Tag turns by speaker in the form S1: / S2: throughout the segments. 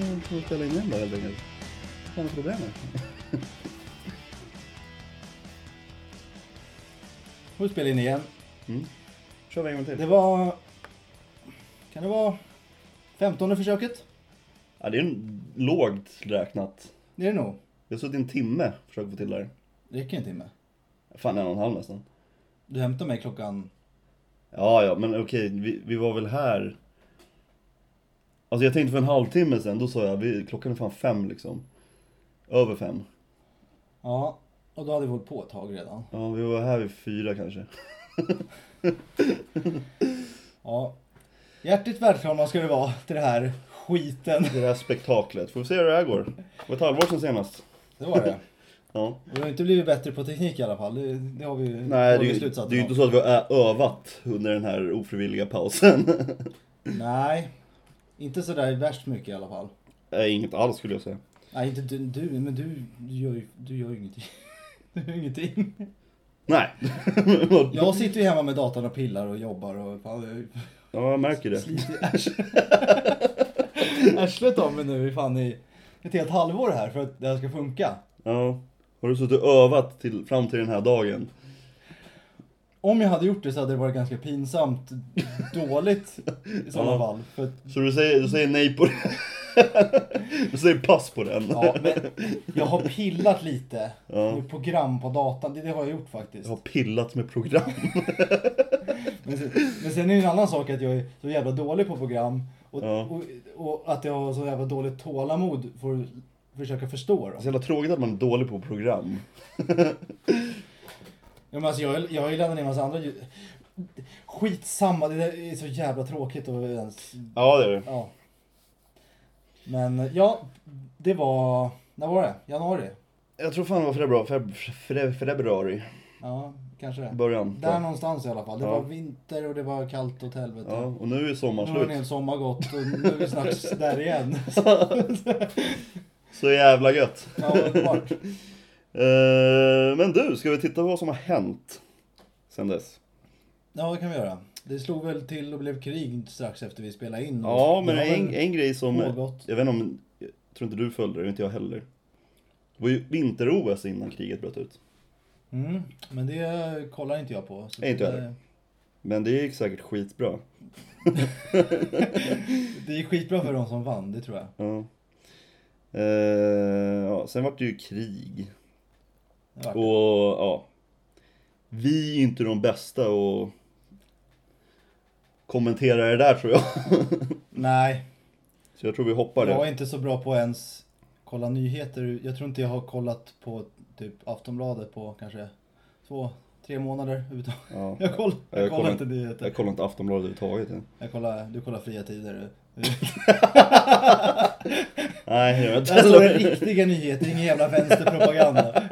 S1: Mm, får ställa in den då helt enkelt. Samma problem.
S2: Får vi spela in igen.
S1: Kör vi en gång till.
S2: Det var... Kan det vara... 15 försöket?
S1: Ja, det är en lågt räknat.
S2: Det är det nog.
S1: Jag har suttit en timme och försökt få till det här.
S2: Det räcker en timme.
S1: Fan, en och en halv nästan.
S2: Du hämtade mig klockan...
S1: Ja, ja, men okej, vi, vi var väl här... Alltså jag tänkte för en halvtimme sen, då sa jag vi, klockan är fan fem liksom. Över fem.
S2: Ja, och då hade vi hållit på ett tag redan.
S1: Ja, vi var här vid fyra kanske.
S2: Ja. Hjärtligt välkomna ska du vara till det här skiten.
S1: Det här spektaklet. Får vi se hur det här går. Det var ett halvår sedan senast.
S2: Det var det.
S1: Ja.
S2: Och Vi har inte blivit bättre på teknik i alla fall. Det, det har vi
S1: Nej,
S2: har
S1: det är,
S2: vi
S1: ju, det
S2: slutsatsen
S1: är ju
S2: av.
S1: inte så att vi har övat under den här ofrivilliga pausen.
S2: Nej, inte sådär värst mycket i alla fall.
S1: Nej, inget alls skulle jag säga.
S2: Nej, inte du, du men du, du, gör, ju, du gör ju ingenting. Du gör ingenting.
S1: Nej.
S2: Jag sitter ju hemma med datorn och pillar och jobbar och fan,
S1: Ja, jag märker det.
S2: sliter ju arslet. arslet av mig nu i fan i ett helt halvår här för att det här ska funka.
S1: Ja. Har du suttit och övat till, fram till den här dagen?
S2: Om jag hade gjort det så hade det varit ganska pinsamt dåligt i sådana
S1: Ja.
S2: fall. För att,
S1: Så du säger, du säger nej på den? Du säger pass på den?
S2: ja, men jag har pillat lite
S1: Ja.
S2: med program på datan, det, det har jag gjort faktiskt.
S1: Jag har pillat med program.
S2: Men sen, men sen är det en annan sak att jag är så jävla dålig på program och,
S1: Ja.
S2: och, och att jag har så jävla dåligt tålamod för att försöka förstå Alltså,
S1: Det
S2: dem.
S1: är så jävla tråkigt att man är dålig på program.
S2: Ja, men alltså jag, jag har ju laddat ner en massa andra ljud. Skitsamma, det där är så jävla tråkigt att ens...
S1: Ja, det är det.
S2: Ja. Men ja, det var... När var det? Januari?
S1: Jag tror fan det var februari, feb, fre- februari
S2: Ja, kanske det.
S1: början.
S2: Där någonstans i alla fall. Det
S1: Ja.
S2: var vinter och det var kallt åt helvete.
S1: Ja, och nu är
S2: nu har en
S1: sommarslut.
S2: hel sommar gått och nu är vi snart där igen.
S1: Så jävla gött.
S2: Ja, underbart.
S1: Eh, men du, ska vi titta på vad som har hänt sen dess?
S2: Ja, det kan vi göra. Det slog väl till och blev krig strax efter vi spelade in.
S1: Ja, men
S2: Det var
S1: en,
S2: väl
S1: en grej som...
S2: Något.
S1: Jag vet inte om... Jag tror inte du följde det, inte jag heller. Det var ju vinter-OS innan kriget bröt ut.
S2: Mm, men det kollar inte jag på. Så
S1: Nej, inte jag
S2: det-
S1: heller. Men det gick säkert skitbra.
S2: Det gick skitbra för de som vann, det tror jag.
S1: Ja. Eh, ja, sen vart det ju krig.
S2: Det var-
S1: Och ja, vi är ju inte de bästa och kommentera det där tror jag.
S2: Nej,
S1: Så jag tror vi hoppar
S2: jag
S1: det.
S2: är inte så bra på att ens kolla nyheter. Jag tror inte jag har kollat på typ Aftonbladet på kanske två, tre månader. överhuvudtaget.
S1: Ja.
S2: Jag kollar, jag
S1: Jag
S2: kollar
S1: kollar
S2: inte nyheter.
S1: Jag kollar inte Aftonbladet överhuvudtaget. än.
S2: Jag kollar, du kollar fria tider. du.
S1: Nej, jag vet
S2: Där står det
S1: inte.
S2: riktiga nyheter, ingen jävla vänsterpropaganda.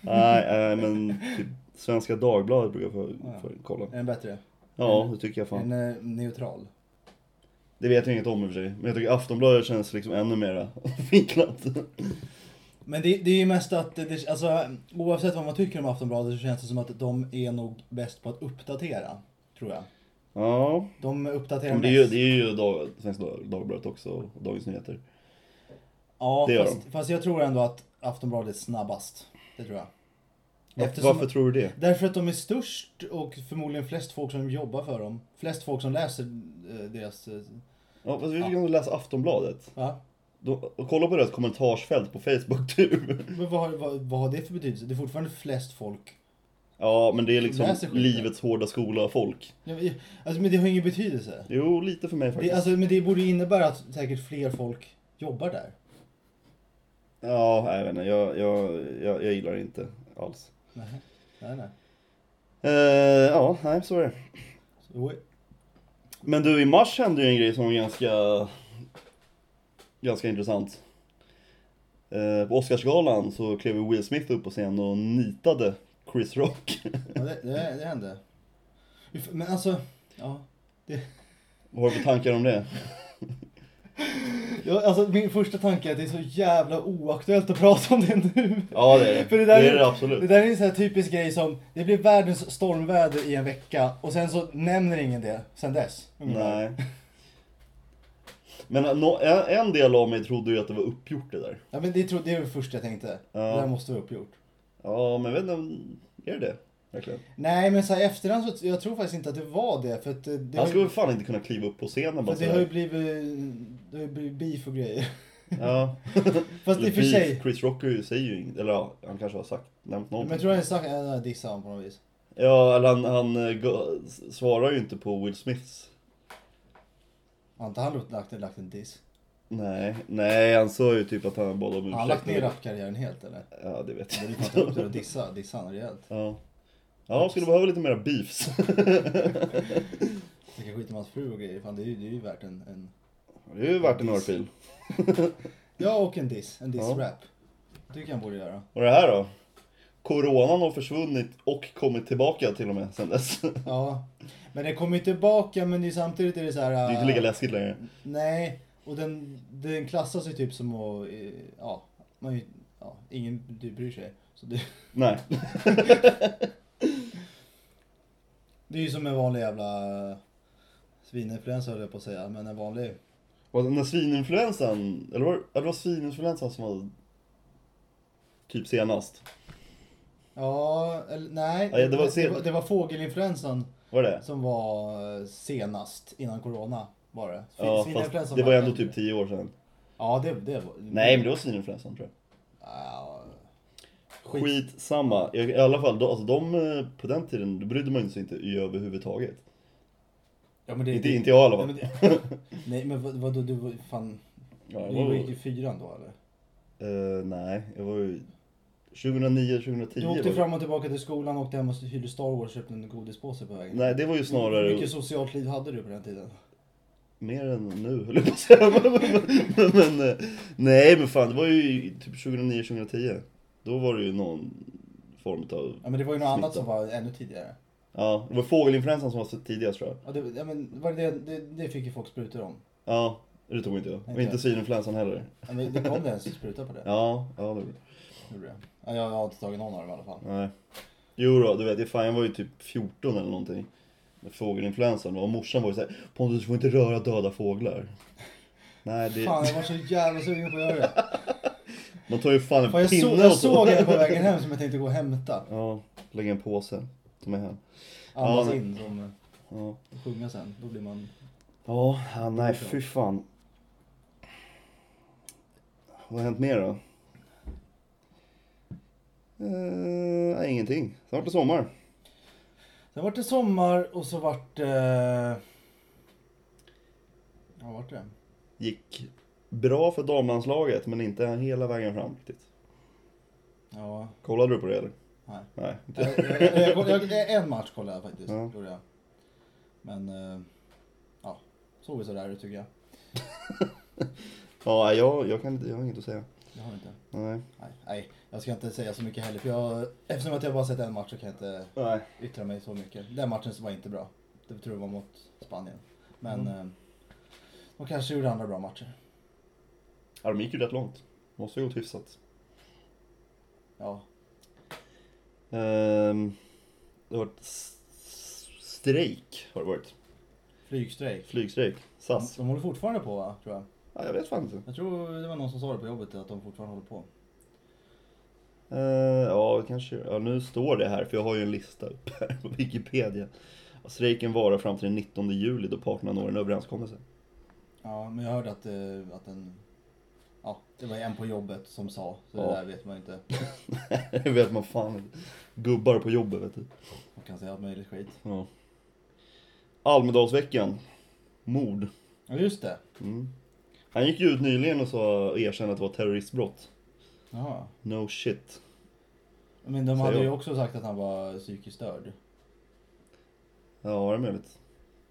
S1: Nej, nej, men typ Svenska Dagbladet brukar jag få, få kolla.
S2: Är den bättre?
S1: Ja, det tycker jag
S2: Är den
S1: fan.
S2: eh, neutral?
S1: Det vet jag inget om i och för sig. Men jag tycker Aftonbladet känns liksom ännu mera vinklat.
S2: Men det, det är ju mest att, det- det, alltså, oavsett vad man tycker om Aftonbladet så känns det som att de är nog bäst på att uppdatera. Tror jag.
S1: Ja,
S2: De uppdaterar
S1: men
S2: mest.
S1: det är ju, det är ju dag, Svenska Dagbladet också och Dagens Nyheter.
S2: ja,
S1: det gör
S2: fast, fast jag tror ändå att Aftonbladet är snabbast. Det tror jag.
S1: Varför,
S2: Eftersom-
S1: varför tror du det?
S2: Därför att de är störst och förmodligen flest folk som jobbar för dem. Flest folk som läser eh, deras... eh,
S1: Ja, fast vi kan ju läsa Aftonbladet.
S2: Va?
S1: Då, och kolla på deras kommentarsfält på Facebook typ. du.
S2: Men vad, har- vad, vad har det för betydelse? Det är fortfarande flest folk.
S1: Ja, men det är
S2: Det
S1: liksom
S2: här ser sjukt ut.
S1: livets hårda skola folk.
S2: Jag- jag- Alltså, men det har ingen betydelse.
S1: Jo, lite för mig
S2: Det,
S1: faktiskt.
S2: alltså, men det borde ju innebära att säkert fler folk jobbar där.
S1: Ja, nej, jag vet inte. Jag, jag, jag, jag gillar det inte alls.
S2: Nej, nej, nej.
S1: Eh, ja, nej, så är det.
S2: Så-
S1: Men du, i mars hände ju en grej som var ganska, ganska intressant. Eh, på Oscarsgalan så klev ju Will Smith upp på scen och nitade Chris Rock.
S2: Ja, det, det, det hände. Uff, Men alltså, ja.
S1: Vad har du för tankar om det?
S2: ja alltså, min första tanke är att det är så jävla oaktuellt att prata om det nu.
S1: Ja, det är
S2: För det där
S1: det,
S2: är-
S1: är det absolut.
S2: Det där är en sån här typisk grej som, det blir världens stormväder i en vecka och sen så nämner ingen det sen dess. ungefär.
S1: Nej. Men eh, nå- en- en del av mig trodde ju att det var uppgjort det där.
S2: Ja men det, tro, det är det första jag tänkte.
S1: Ja.
S2: Det där måste vara uppgjort.
S1: Ja, men jag vet inte, om- är det det? Verkligen.
S2: Nej men så här i efterhand så jag tror faktiskt inte att det var det. För att eh, det, har,
S1: Han skulle väl
S2: ju-
S1: fan inte kunna kliva upp på scenen
S2: för
S1: bara
S2: att det har ju
S1: sådär.
S2: blivit, det har ju blivit beef och grejer.
S1: Ja.
S2: Fast i och för
S1: Eller
S2: sig.
S1: beef. Chris Rocker säger ju inget, eller ja, han kanske har sagt, nämnt
S2: Men
S1: någonting.
S2: jag tror han sagt, äh, dissade honom på något vis.
S1: Ja, eller han, han eh, go- s- svarar ju inte på Will Smiths.
S2: Har inte han lagt, lagt en diss?
S1: Nej, nej han sa ju typ att han bad om ursäkt.
S2: Har han lagt ner rapkarriären helt eller?
S1: Ja, det vet
S2: Det
S1: jag
S2: är fan upp
S1: inte.
S2: där och dissa, dissa han rejält.
S1: Ja. Ja, skulle behöva lite mera beefs.
S2: Snacka skit om hans fru och grejer. Fan det är ju, det är ju värt en, en...
S1: Det är ju värt en örfil.
S2: Ja och en diss. En
S1: Ja.
S2: diss-rap. Det tycker jag han borde göra.
S1: Och det här då? Coronan har försvunnit och kommit tillbaka till och med sen dess. Det
S2: Ja. Men den kommer ju tillbaka men det är samtidigt är det så här.
S1: är inte lika läskigt längre.
S2: Nej, och den, den klassas ju typ som att, eh, ja, man ju, ja, ingen du bryr sig. Så det,
S1: Nej.
S2: det är ju som en vanlig jävla svininfluensa höll jag på att säga, men en vanlig.
S1: Och den där svininfluensan, eller var, ja, det var svininfluensan som var typ senast.
S2: Ja, eller nej.
S1: Ja, det var sen-
S2: det, var, det var fågelinfluensan
S1: Var det
S2: som var eh, senast, innan corona var det. Svin-
S1: Ja, fast
S2: svininfluensan
S1: det var ju ändå
S2: äldre.
S1: typ 10 år sedan.
S2: Ja, det, det var...
S1: Nej, men det var svininfluensan tror jag.
S2: Ja, Skit.
S1: Skitsamma. I i alla fall, då, alltså de, eh, på den tiden då brydde man sig inte i överhuvudtaget.
S2: ja, men det,
S1: Inte, inte jag i alla
S2: Nej,
S1: fall.
S2: men, det, nej, men vad, vadå, du var ju fan...
S1: Ja, jag
S2: Du
S1: var,
S2: gick i fyran då eller?
S1: eh, nej, jag var ju 2009, 2010
S2: Du
S1: var
S2: åkte
S1: det.
S2: fram och tillbaka till skolan, åkte hem och hyrde Star Wars och köpte en godispåse på vägen.
S1: Nej, det var ju
S2: Hur
S1: snarare
S2: mycket socialt liv hade du på den tiden?
S1: mer än nu höll jag på att säga. Men, men, men, eh, nej, men fan det var ju i typ 2009, 2010. Då var det ju någon form av,
S2: Ja men det var ju något annat
S1: Smittan.
S2: som var ännu tidigare.
S1: ja, det var fågelinfluensan som var tidigast tror jag.
S2: Ja, det, ja men var det, det, det fick ju folk sprutor om.
S1: Ja, det tog inte jag. Och
S2: Inte.
S1: inte svininfluensan heller.
S2: Ja, men det kom det ens spruta på det?
S1: Ja, ja det var det.
S2: Gjorde det? Ja, jag har inte tagit någon av dem i alla fall.
S1: Nej. Jo då, du vet, jag- fan, jag var ju typ 14 eller någonting. Med fågelinfluensan och morsan var ju såhär Pontus du får inte röra döda fåglar. Nej, det,
S2: Fan jag var så jävla sugen på att göra det.
S1: man tar ju fan en
S2: Fan, jag,
S1: pinne
S2: så,
S1: och
S2: jag
S1: så.
S2: såg henne på vägen hem som jag tänkte gå och hämta.
S1: Ja, lägga en påse. Ta med hem.
S2: Andas
S1: men-
S2: in som eh,
S1: Ja,
S2: sjunga sen. Då blir man...
S1: ja ja, nej fy fan. Vad har hänt mer då? Eh, nej, ingenting. Snart är sommar.
S2: Sen vart det sommar och så vart eh, det... Ja vart det?
S1: Gick bra för damlandslaget men inte hela vägen fram riktigt.
S2: Ja,
S1: Kollade du på det eller?
S2: nej.
S1: Nej, inte
S2: jag, jag, jag, jag, en match kollade jag faktiskt,
S1: Ja.
S2: gjorde jag. Men, eh, ja. Såg vi sådär ut tycker jag.
S1: Ja, nej, jag, jag, kan, inte- jag har inget att säga.
S2: Det har vi inte.
S1: Nej.
S2: Nej, nej, jag ska inte säga så mycket heller. För jag, eftersom att jag bara sett en match så kan jag inte
S1: Nej.
S2: yttra mig så mycket. Den matchen så var inte bra. Det tror jag var mot Spanien. Men eh, de kanske gjorde andra bra matcher.
S1: Ja, de gick ju rätt långt. Måste ju gått hyfsat.
S2: Ja,
S1: Ehm, det har varit s- s- strejk, har det varit.
S2: flygstrejk.
S1: Flygstrejk.
S2: De,
S1: SAS.
S2: de håller fortfarande på va, tror jag.
S1: Ja, jag vet fan inte.
S2: Jag tror det var någon som sa det på jobbet att de fortfarande håller på.
S1: Eh, ja, kanske. Ja, nu står det här, för jag har ju en lista uppe här på Wikipedia. Och strejken varar fram till den 19 juli då parterna når en överenskommelse.
S2: Ja, men jag hörde att, eh, att den... Ja, det var en på jobbet som sa, så det
S1: Ja.
S2: där vet man ju inte.
S1: Det vet man fan inte. Gubbar på jobbet, vet du.
S2: Man kan säga allt möjligt skit.
S1: Ja. Almedalsveckan. Mord.
S2: Ja, just det.
S1: Mm. Han gick ju ut nyligen och sa, och erkände att det var terroristbrott.
S2: Jaha.
S1: No shit.
S2: Men de
S1: Så
S2: hade
S1: jag-
S2: ju också sagt att han var psykiskt störd.
S1: Ja, det är möjligt.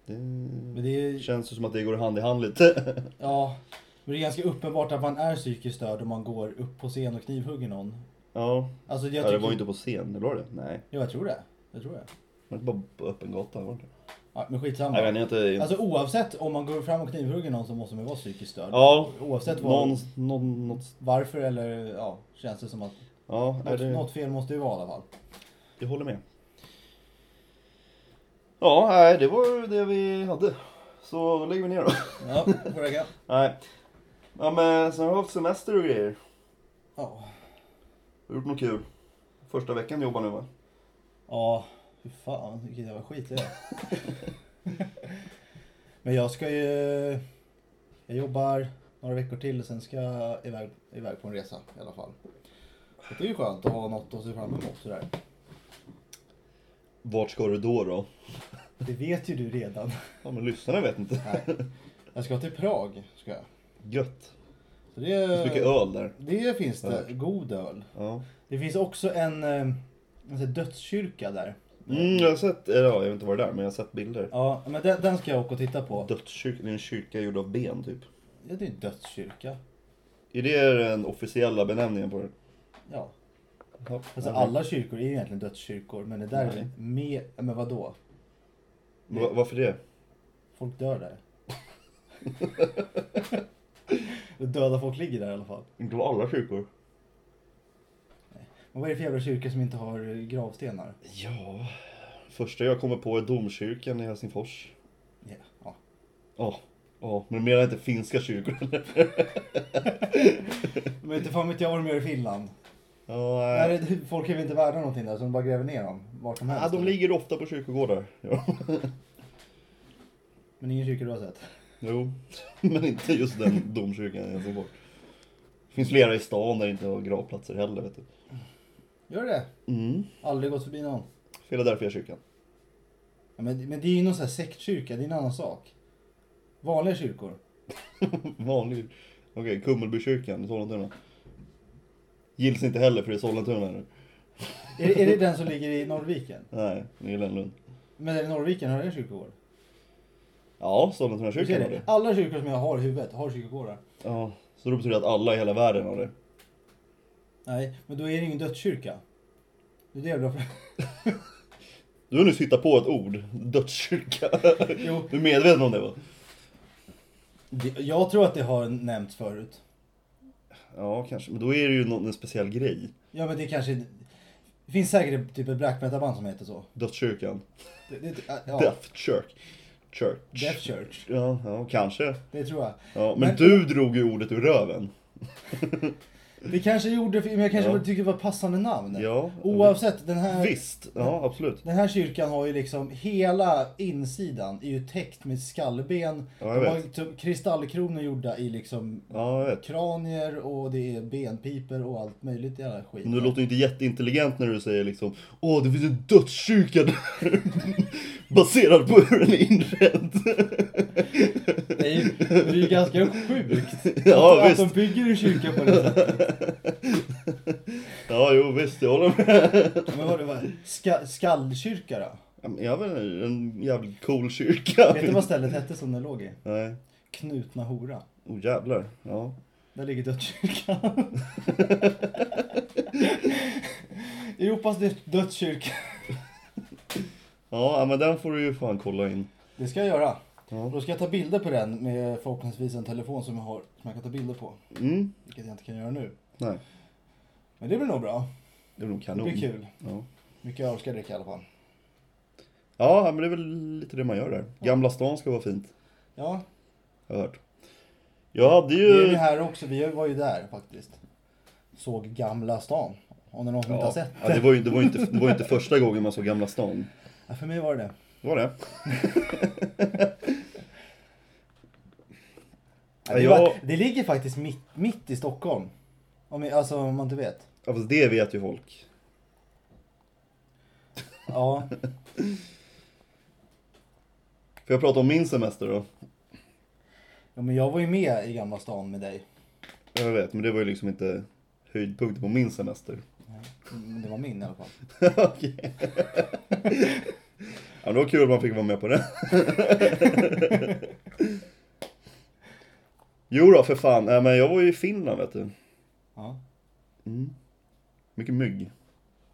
S2: Men
S1: Det
S2: det är,
S1: känns ju som att det går hand i hand lite.
S2: ja, men det är ganska uppenbart att man är psykiskt störd om man går upp på scen och knivhugger någon.
S1: ja.
S2: Alltså jag
S1: ja,
S2: tycker...
S1: det var ju inte på scen, eller var det? Nej.
S2: Jo, jag tror det. Jag tror det.
S1: Det var bara på öppen gata, var det inte?
S2: Ja, men
S1: Nej, men
S2: skitsamma.
S1: jag vet inte.
S2: Alltså oavsett om man går fram och knivhugger någon så måste man ju vara psykiskt störd.
S1: Ja.
S2: Oavsett vad,
S1: Någon, någon, något,
S2: varför eller ja, känns det som att
S1: ja, är
S2: något,
S1: det,
S2: något fel måste ju vara i alla fall.
S1: jag håller med. Ja, nej, det var det vi hade. Så då lägger vi ner då.
S2: Ja, får räcka.
S1: Nej. Ja men sen har jag haft semester och grejer.
S2: Ja.
S1: Har gjort något kul. Första veckan jobbar nu va?
S2: Ja, fy fan vilken jävla skit det är. Men jag ska ju... Jag jobbar några veckor till och sen ska jag iväg, iväg på en resa i alla fall. Så det är ju skönt att ha något att se fram emot sådär.
S1: Vart ska du då då?
S2: Det vet ju du redan.
S1: Ja men lyssnarna vet inte.
S2: Nej. Jag ska till Prag. Ska jag.
S1: Gött.
S2: Så
S1: Det finns mycket
S2: det,
S1: öl där.
S2: det finns det.
S1: Öl.
S2: God öl.
S1: Ja.
S2: Det finns också en, eh, en sån här dödskyrka där.
S1: Mm, jag har sett, eller ja, jag vet inte vad det är där, men jag har sett bilder.
S2: Ja, men den, den ska jag åka och titta på.
S1: Dödskyrka, det är en kyrka gjord av ben typ.
S2: Ja, det är en dödskyrka.
S1: Är det den officiella benämningen på det?
S2: Ja.
S1: Ja.
S2: Alltså
S1: Ja.
S2: alla kyrkor är ju egentligen dödskyrkor, men det där är
S1: Nej.
S2: mer... ja, Men vadå? Mm.
S1: Va- varför det?
S2: Folk dör där. Döda folk ligger där i alla fall.
S1: Inte av alla kyrkor.
S2: Men vad är det för jävla kyrka som inte har eh, gravstenar?
S1: Ja, första jag kommer på är domkyrkan i Helsingfors.
S2: Ja. ja.
S1: Ja, ja, men menar inte finska kyrkor eller?
S2: Men inte fan vet jag vad de gör i Finland.
S1: Ja,
S2: Där
S1: nej.
S2: är, det- folk är väl inte värda någonting där, så de bara gräver ner dem vart som helst.
S1: Ja, de ligger ofta på kyrkogårdar. Ja.
S2: Men ingen kyrka du har sett?
S1: Jo, men inte just den domkyrkan i Helsingfors. Det finns flera i stan där det inte har gravplatser heller vet du.
S2: Gör det?
S1: Mm,
S2: Aldrig gått förbi någon.
S1: Philadelphia kyrkan.
S2: Ja, men, men det är ju någon sån här sektkyrka, det är en annan sak. Vanliga kyrkor.
S1: Vanlig. Okej, Kummelbykyrkan i Sollentuna. Gills inte heller för det är Sollentuna nu.
S2: Är, det- är det den som ligger i Norrviken?
S1: Nej, det är Lönnlund.
S2: Men är det Norrviken, har den kyrkogård?
S1: Ja,
S2: Du
S1: Sollentunakyrkan
S2: ser
S1: har
S2: det.
S1: det.
S2: Alla kyrkor som jag har i huvudet har kyrkogårdar.
S1: Ja, så då betyder det att alla i hela världen har det.
S2: Nej, men då är det ingen dödskyrka. Det är det jag blir för...
S1: Du har nyss hittat på ett ord, dödskyrka.
S2: Jo,
S1: Du är medveten om det va?
S2: det, jag tror att det har nämnts förut.
S1: Ja, kanske. Men då är det ju någon, en speciell grej.
S2: Ja, men det kanske... Det finns säkert typ ett black metal-band som heter så.
S1: Dödskyrkan.
S2: Det, det, ja, Death.
S1: Death Church. Church.
S2: Church.
S1: Ja, ja, kanske.
S2: Det tror jag.
S1: Ja, men,
S2: Men-
S1: du drog ju ordet ur röven.
S2: Det kanske gjorde, men jag kanske
S1: Ja.
S2: bara tycker det var passande namn.
S1: Ja,
S2: Oavsett, den här...
S1: visst. Ja, absolut.
S2: Den här kyrkan har ju liksom hela insidan är ju täckt med skallben.
S1: Ja, jag
S2: De har
S1: vet.
S2: ju typ kristallkronor gjorda i liksom
S1: Ja, jag vet.
S2: kranier och det är benpiper och allt möjligt jävla skit.
S1: Men du låter ju inte jätteintelligent när du säger liksom Åh, det finns en dödskyrka där. Baserad på hur den är inredd.
S2: Det är ju- det är ju ganska sjukt
S1: Ja,
S2: att,
S1: visst.
S2: att de bygger en kyrka på det sättet.
S1: Ja, jo visst, jag håller med.
S2: Men vad det var, ska, skallkyrka då?
S1: Ja, men Jag vet inte, en jävligt cool kyrka.
S2: Vet du vad stället hette som den låg i?
S1: Nej.
S2: Knutna hora.
S1: Oh jävlar. Ja.
S2: Där ligger dödskyrkan. Europas död- dödskyrka.
S1: Ja, men den får du ju fan kolla in.
S2: Det ska jag göra. Och
S1: Ja.
S2: Då ska jag ta bilder på den med förhoppningsvis en telefon som jag har som jag kan ta bilder på.
S1: Mm.
S2: Vilket jag inte kan göra nu.
S1: Nej,
S2: Men det blir nog bra.
S1: det är nog
S2: Det
S1: kanon.
S2: blir kul.
S1: Ja.
S2: Mycket öl ska jag dricka i alla fall.
S1: ja, men det är väl lite det man gör där. Gamla stan ska vara fint,
S2: Ja,
S1: har jag hört. Jag hade
S2: vi är ju
S1: ju...
S2: här också. Vi var ju där faktiskt. Såg Gamla stan. Om det är någon som inte har
S1: Ja,
S2: sett.
S1: ja, det var ju det var ju inte, det var ju inte första gången man såg Gamla stan.
S2: Ja, för mig var det det.
S1: Det var det.
S2: Ja,
S1: Ja,
S2: det,
S1: jag-
S2: var, det ligger faktiskt mitt, mitt i Stockholm. Om, jag- alltså om man inte vet.
S1: Ja, fast det vet ju folk.
S2: Ja,
S1: Får jag prata om min semester då?
S2: ja men jag var ju med i Gamla stan med dig.
S1: Jag vet, men det var ju liksom inte höjdpunkten på min semester.
S2: Men Mm, Det var min i alla fall.
S1: Okej. ja, men det var kul att man fick vara med på det. jo då, för fan. Nej, men jag var ju i Finland, vet du.
S2: Ja,
S1: Mm. Mycket mygg.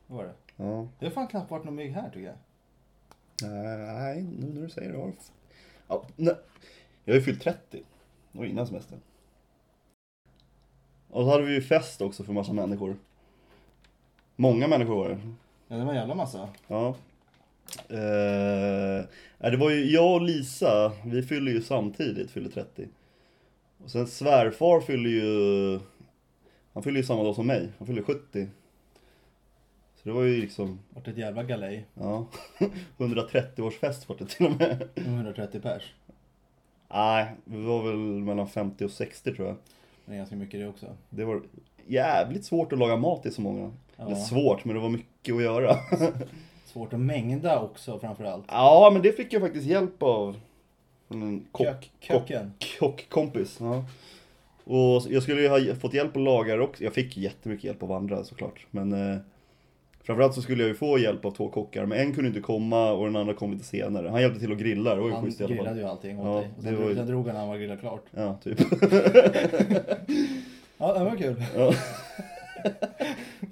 S2: det var det.
S1: Ja.
S2: Det har fan knappt varit någon mygg här tycker jag.
S1: Nej, Nej, nu när du säger det. har det- Ja, nej. Jag har ju fyllt 30. Det var innan semestern. Och så hade vi ju fest också för massa människor. Många människor var det.
S2: Ja, det var en jävla massa.
S1: Ja. Eh, nej, det var ju jag och Lisa, vi fyller ju samtidigt, fyller 30. Och sen svärfar fyller ju, han fyller ju samma dag som mig, han fyller 70. Så det var ju liksom,
S2: Vart ett jävla galej.
S1: ja, 130-årsfest var det till och med.
S2: 130 pers.
S1: Nej, vi var väl mellan 50 och 60 tror jag.
S2: Det är ganska mycket det också.
S1: Det var jävligt svårt att laga mat till så många. Eller
S2: Ja.
S1: svårt, men det var mycket att göra.
S2: Svårt att mängda också framförallt.
S1: ja, men det fick jag faktiskt hjälp av. En kock,
S2: Kök, köken.
S1: kockkompis. Ja. Och jag skulle ju ha fått hjälp att laga det också. Jag fick jättemycket hjälp av andra såklart. Men eh, framförallt så skulle jag ju få hjälp av två kockar. Men en kunde inte komma och den andra kom lite senare. Han hjälpte till att grilla, det var ju
S2: Han
S1: schysst i alla fall.
S2: grillade ju allting åt
S1: Ja,
S2: dig. Och
S1: det
S2: sen,
S1: var ju-
S2: sen drog han när han var grillad klart.
S1: Ja, typ.
S2: Ja, det var kul.
S1: Ja.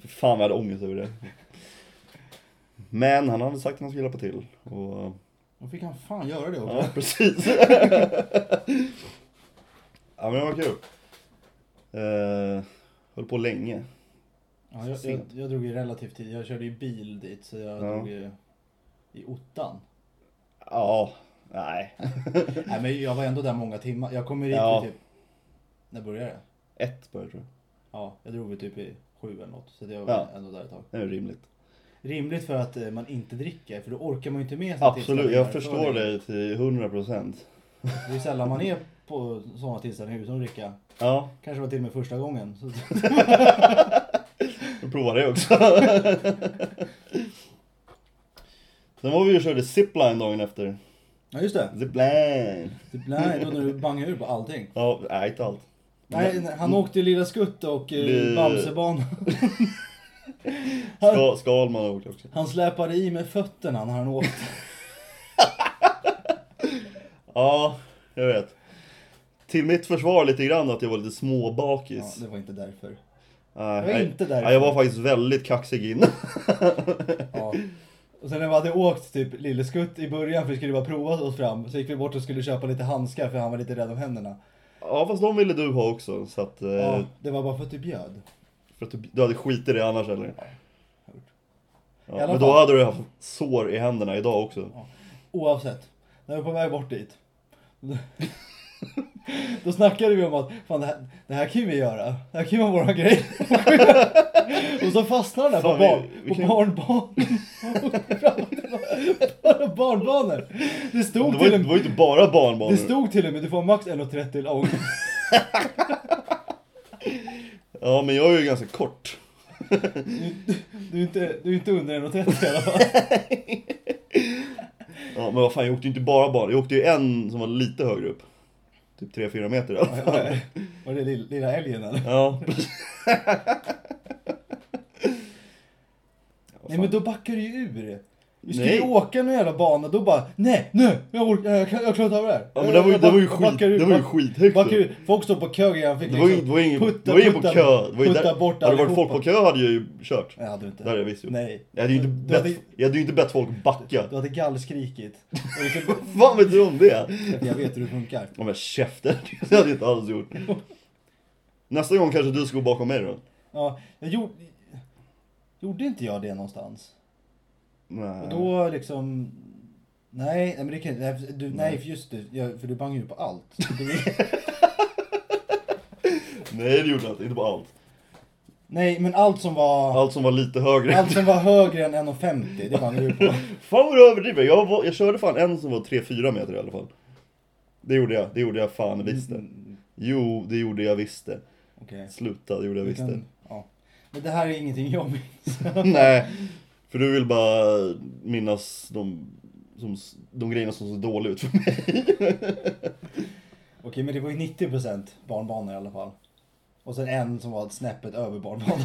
S1: Fy Fan vad jag hade ångest över det. Men han hade sagt att han skulle hjälpa till. Och,
S2: Då fick han fan göra det också.
S1: ja, precis. ja men det var kul. Eh, höll på länge.
S2: Ja, jag, jag, jag drog ju relativt tidigt. Jag körde ju bil dit så jag
S1: Ja.
S2: drog ju i ottan.
S1: Ja, nej.
S2: Nej men jag var ändå där många timmar. Jag kommer dit
S1: Ja.
S2: vid typ... När började det?
S1: Ett började tror jag.
S2: Ja, jag drog väl typ i sju eller något. Så det var
S1: Ja.
S2: ändå där ett tag.
S1: Det är rimligt.
S2: Rimligt för att eh, man inte dricker, för då orkar man ju inte med sina
S1: Absolut, jag förstår
S2: det.
S1: dig till 100%.
S2: Det är sällan man är på sådana tillställningar utan att dricka.
S1: Ja,
S2: Kanske var till och med första gången. Så,
S1: jag provar det också. Sen var vi och körde zipline dagen efter.
S2: ja just det.
S1: Zipline!
S2: Typ, nej, då när du bangar ur på allting.
S1: Ja, nej inte allt.
S2: Nej, nej, han åkte ju Lilla Skutt och
S1: Bli-
S2: eh, Bamsebanan. Han,
S1: Ska, Skalman har åkt också.
S2: han släpade i med fötterna när han åkte.
S1: Ja, jag vet. Till mitt försvar lite grann att jag var lite
S2: Ja,
S1: småbakis.
S2: det var inte därför.
S1: Nej,
S2: det var
S1: nej.
S2: inte därför.
S1: Nej, jag var faktiskt väldigt kaxig innan.
S2: Ja. Och sen när vi hade åkt typ Lilleskutt i början för vi skulle bara prova oss fram så gick vi bort och skulle köpa lite handskar för han var lite rädd om händerna.
S1: Ja, fast de ville du ha också. Så att, eh,
S2: Ja, det var bara för att du bjöd.
S1: för att du, du hade skitit i det annars eller?
S2: I
S1: Ja,
S2: alla
S1: men då
S2: fall.
S1: hade du haft sår i händerna idag också.
S2: Oavsett, när vi var på väg bort dit. Då snackade vi om att fan, det, här, det här kan ju vi göra, det här kan ju vara våra grej. Och så fastnade den här
S1: Fan,
S2: på,
S1: vi-
S2: barn,
S1: vi
S2: på
S1: kan-
S2: barnbarn. barnbanor. Det
S1: Det
S2: stod
S1: var, ju-
S2: till
S1: det
S2: och
S1: var ju inte bara barnbanor.
S2: det stod till och med du får max 1,30 lång.
S1: Ja, men jag är ju ganska kort.
S2: Du, du, är inte, du är inte under 1,30 i alla fall.
S1: Ja, men vad fan, jag åkte ju inte bara barn. Jag åkte ju en som var lite högre upp. Typ 3-4 meter i alla fall.
S2: Var det lill- lilla älgen eller?
S1: Ja, precis.
S2: Nej men då backar du ju ur. Vi skulle
S1: Nej.
S2: ju åka någon jävla bana, då bara nej, nu, jag orkar, jag, kan- jag klarar inte av det här.
S1: Ja men det var ju,
S2: Jag
S1: det var ju,
S2: back-
S1: skit,
S2: backar ur,
S1: det var ju
S2: back-
S1: skithögt
S2: backar
S1: upp.
S2: ur. Folk står på kö igen, fick
S1: Det var ju
S2: liksom
S1: det var ingen,
S2: putta,
S1: det var ingen på
S2: putta-
S1: kö. Det var ju
S2: putta
S1: där,
S2: bort
S1: hade det varit
S2: allihopa.
S1: folk på kö hade jag ju kört.
S2: Nej, hade du inte.
S1: Det hade jag visst gjort.
S2: Nej.
S1: Jag hade ju inte
S2: Du- du
S1: bett,
S2: hade-
S1: jag hade ju inte bett folk backa.
S2: Du hade gallskrikit. Och liksom,
S1: Fan vet du om det?
S2: jag vet hur det funkar.
S1: Om jag käften, det hade jag inte alls gjort. Nästa gång kanske du ska gå bakom mig då?
S2: Ja, jag gjorde, gjorde inte jag det någonstans?
S1: Nej.
S2: Och då liksom... Nej, nej men det kan nej, du, nej, för just det. Jag, för du bangar ju på allt. Du-
S1: Nej det gjorde jag inte, inte på allt.
S2: nej, men allt som var...
S1: Allt som var lite högre.
S2: Allt som var högre än 1,50, det bangar du på.
S1: Fan vad du överdriver, jag, var, jag körde fan en som var 3-4 meter i alla fall. Det gjorde jag, det gjorde jag fan visst det.
S2: Mm,
S1: Jo, det gjorde jag visst det.
S2: Okej.
S1: Sluta, det gjorde jag
S2: Vi
S1: visst det.
S2: kan- Ja. Men det här är ingenting jag minns.
S1: Nej, för du vill bara minnas de, som, de grejerna som såg dåliga ut för mig.
S2: Okej, men det var ju 90% barnbanor i alla fall. Och sen en som var snäppet över barnbanor.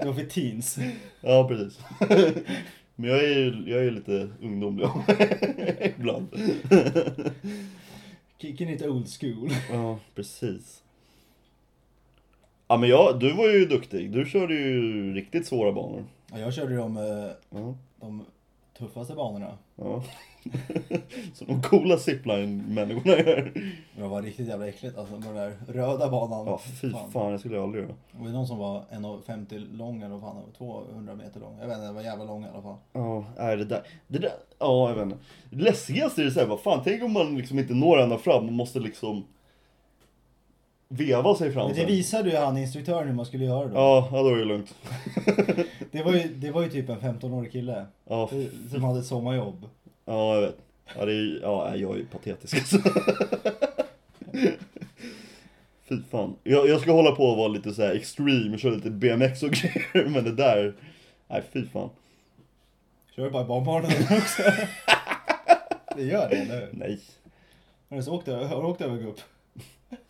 S2: Det var för teens.
S1: Ja, precis. Men jag är ju jag är ju lite ungdomlig av mig ibland.
S2: Kicking it old school.
S1: Ja, precis. Ja, men jag, du var ju duktig. Du körde ju riktigt svåra banor.
S2: Ja, jag körde ju de, eh,
S1: Ja.
S2: de tuffaste banorna.
S1: Ja. Som de coola zipline-människorna gör.
S2: Men det var riktigt jävla äckligt alltså med den där röda banan.
S1: Ja, fy fan, det skulle jag aldrig göra.
S2: Det var ju någon som var 1,50 lång eller vad fan, det var, 200 meter lång. Jag vet inte, det var jävla lång i alla fall.
S1: Ja, nej det där. Det där, ja jag vet inte. Det läskigaste är det såhär, vad fan, tänk om man liksom inte når ända fram och måste liksom veva sig fram.
S2: Men det
S1: sen.
S2: visade ju han instruktören hur man skulle göra då.
S1: Ja, ja, då är det lugnt.
S2: Det, var ju, det var ju typ en 15-årig kille
S1: Ja, f-
S2: som hade ett sommarjobb.
S1: ja jag vet. Ja, det är, ju- ja, nej, jag är ju patetisk alltså. Fy fan. Jag, jag ska hålla på och vara lite så här extreme, köra lite BMX och grejer, men det där, nej fy fan.
S2: Kör bara i barnbarnen också. det gör det, eller hur?
S1: Nej.
S2: Har du så åkt över- har du åkt över gupp?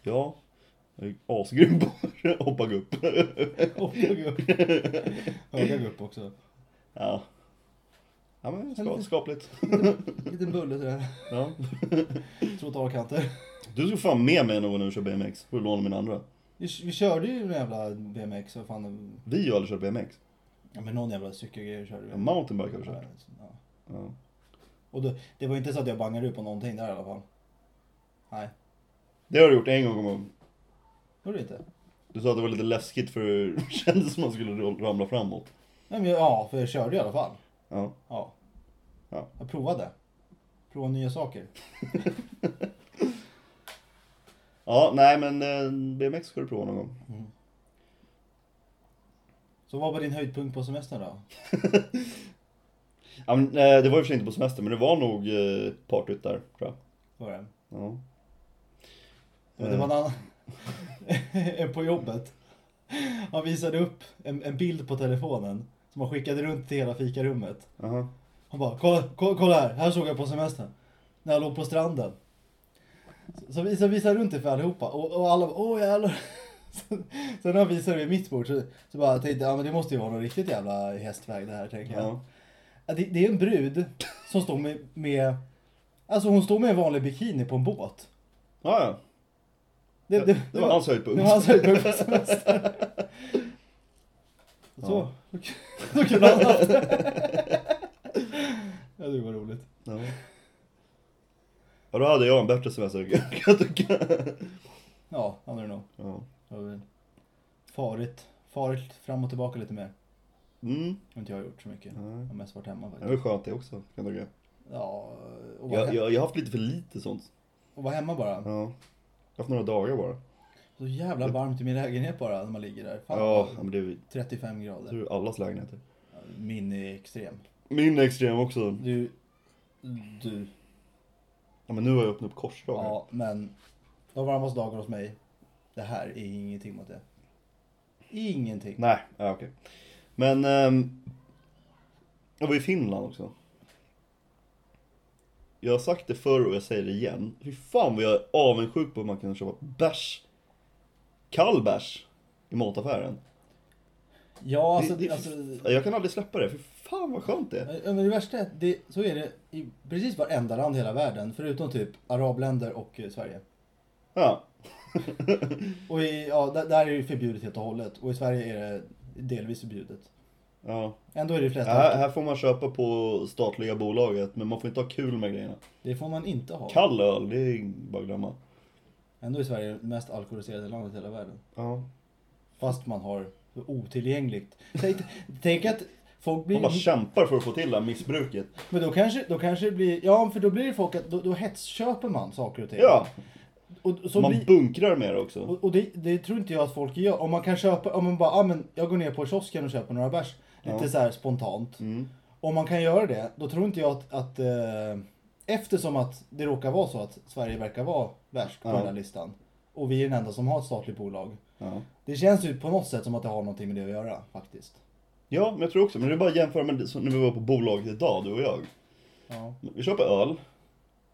S1: Ja. Jag är asgrym på att hoppa upp.
S2: Åka gupp. Höga gupp också.
S1: Ja. Ja men ska, skapligt.
S2: En liten bulle sådär.
S1: Ja.
S2: Trottoarkanter.
S1: Du ska fan med mig någon när du kör BMX. Får du låna min andra.
S2: Vi, vi körde ju en jävla BMX, vad fan.
S1: Vi har ju aldrig kört BMX.
S2: Ja men någon jävla cykelgrej körde vi.
S1: Ja, Mountainbike har vi kört.
S2: Ja.
S1: Ja.
S2: Och då, det var inte så att jag bangade ut på någonting där i alla fall. Nej,
S1: Det har du gjort en gång kommer jag ihåg.
S2: gjorde det inte?
S1: Du sa att det var lite läskigt för det kändes som att man skulle ramla framåt.
S2: Nej, men jag, ja, för jag körde i alla fall.
S1: Ja.
S2: Ja.
S1: Ja.
S2: Jag provade. Prova nya saker.
S1: Ja, nej men eh, BMX ska du prova någon gång.
S2: Så vad var din höjdpunkt på semestern då?
S1: Ja, men, eh, det var ju för sig inte på semester men det var nog eh, partyt där tror jag.
S2: Var det?
S1: Ja.
S2: Ja, det var en annan... en på jobbet. Han visade upp en, en bild på telefonen som han skickade runt till hela fikarummet.
S1: Aha.
S2: Han bara, kolla, kolla, kolla här, här såg jag på semestern. När jag låg på stranden. Så- Så, vi- så visade han runt det för allihopa och, och alla bara, åh jävlar. Sen- Sen när han visade det vid mitt bord så, så bara tänkte jag, ja men det måste ju vara någon riktigt jävla hästväg det här tänker jag.
S1: Ja.
S2: Ja, Det, det är en brud som står med, med, alltså hon står med en vanlig bikini på en båt.
S1: Ja, ja.
S2: Det, det,
S1: Det var hans höjdpunkt.
S2: det var hans höjdpunkt på semestern. Så, då kunde han haft det. Ja, det var roligt.
S1: Ja. ja, då hade jag en bättre semester kan jag tycka.
S2: Ja, hade det nog.
S1: Ja.
S2: Jag har väl Farit, farit fram och tillbaka lite mer.
S1: Mm.
S2: Har inte jag gjort så mycket. Jag
S1: Nej.
S2: har mest varit hemma
S1: Det
S2: faktiskt.
S1: var skönt det också kan jag tycka.
S2: Ja, och vara,
S1: Jag,
S2: he-
S1: jag, jag har haft lite för lite sånt.
S2: och vara hemma bara.
S1: Ja. Jag har haft några dagar bara.
S2: Så jävla varmt i min lägenhet bara när man ligger där. Fan,
S1: Ja, men det är ju
S2: 35
S1: det
S2: grader.
S1: är ju allas lägenheter.
S2: Min är extrem.
S1: Min är extrem också.
S2: Du, du.
S1: Ja, men nu har jag öppnat upp korsdrag. här.
S2: Ja, men de varmaste dagarna hos mig, det här är ingenting mot det. Ingenting.
S1: Nej, ja, okej. Men... ehm, jag var i Finland också. Jag har sagt det förr och jag säger det igen. Fy fan vad jag är avundsjuk på hur man kan köpa bärs. Kall bärs. I mataffären.
S2: Ja, alltså,
S1: Det- det-
S2: alltså
S1: Jag kan aldrig släppa det. Fy fan vad skönt det är.
S2: Ja, Men det värsta är att det, så är det i precis varenda land i hela världen förutom typ arabländer och eh, Sverige.
S1: Ja.
S2: Och i, ja, där, där är det förbjudet helt och hållet och i Sverige är det delvis förbjudet.
S1: ja.
S2: Ändå är det i
S1: Ja,
S2: flesta.
S1: Här, här får man köpa på statliga bolaget, men man får inte ha kul med grejerna.
S2: Det får man inte ha.
S1: Kall öl, det är bara att glömma.
S2: Ändå är Sverige det mest alkoholiserade landet i hela världen.
S1: Ja.
S2: Fast man har otillgängligt. Tänk, tänk att folk
S1: Man bara
S2: blir...
S1: kämpar för att få till det här missbruket.
S2: Men då kanske, då kanske det blir... Ja, för då blir det folk att då, då hetsköper man saker och ting.
S1: Ja,
S2: Och, så
S1: man
S2: blir,
S1: bunkrar med det också.
S2: Och, och det, det tror inte jag att folk gör. Om man kan köpa, om man bara, ah, men jag går ner på kiosken och köper några bärs. Lite
S1: Ja.
S2: så här spontant.
S1: Mm.
S2: Om man kan göra det, då tror inte jag att, att eh, eftersom att det råkar vara så att Sverige verkar vara värst på
S1: Ja.
S2: den här listan. Och vi är den enda som har ett statligt bolag.
S1: Ja.
S2: Det känns ju på något sätt som att det har någonting med det att göra faktiskt.
S1: ja, men jag tror också, men det är bara att jämföra med det som när vi var på bolaget idag, du och jag.
S2: Ja.
S1: Vi köper öl,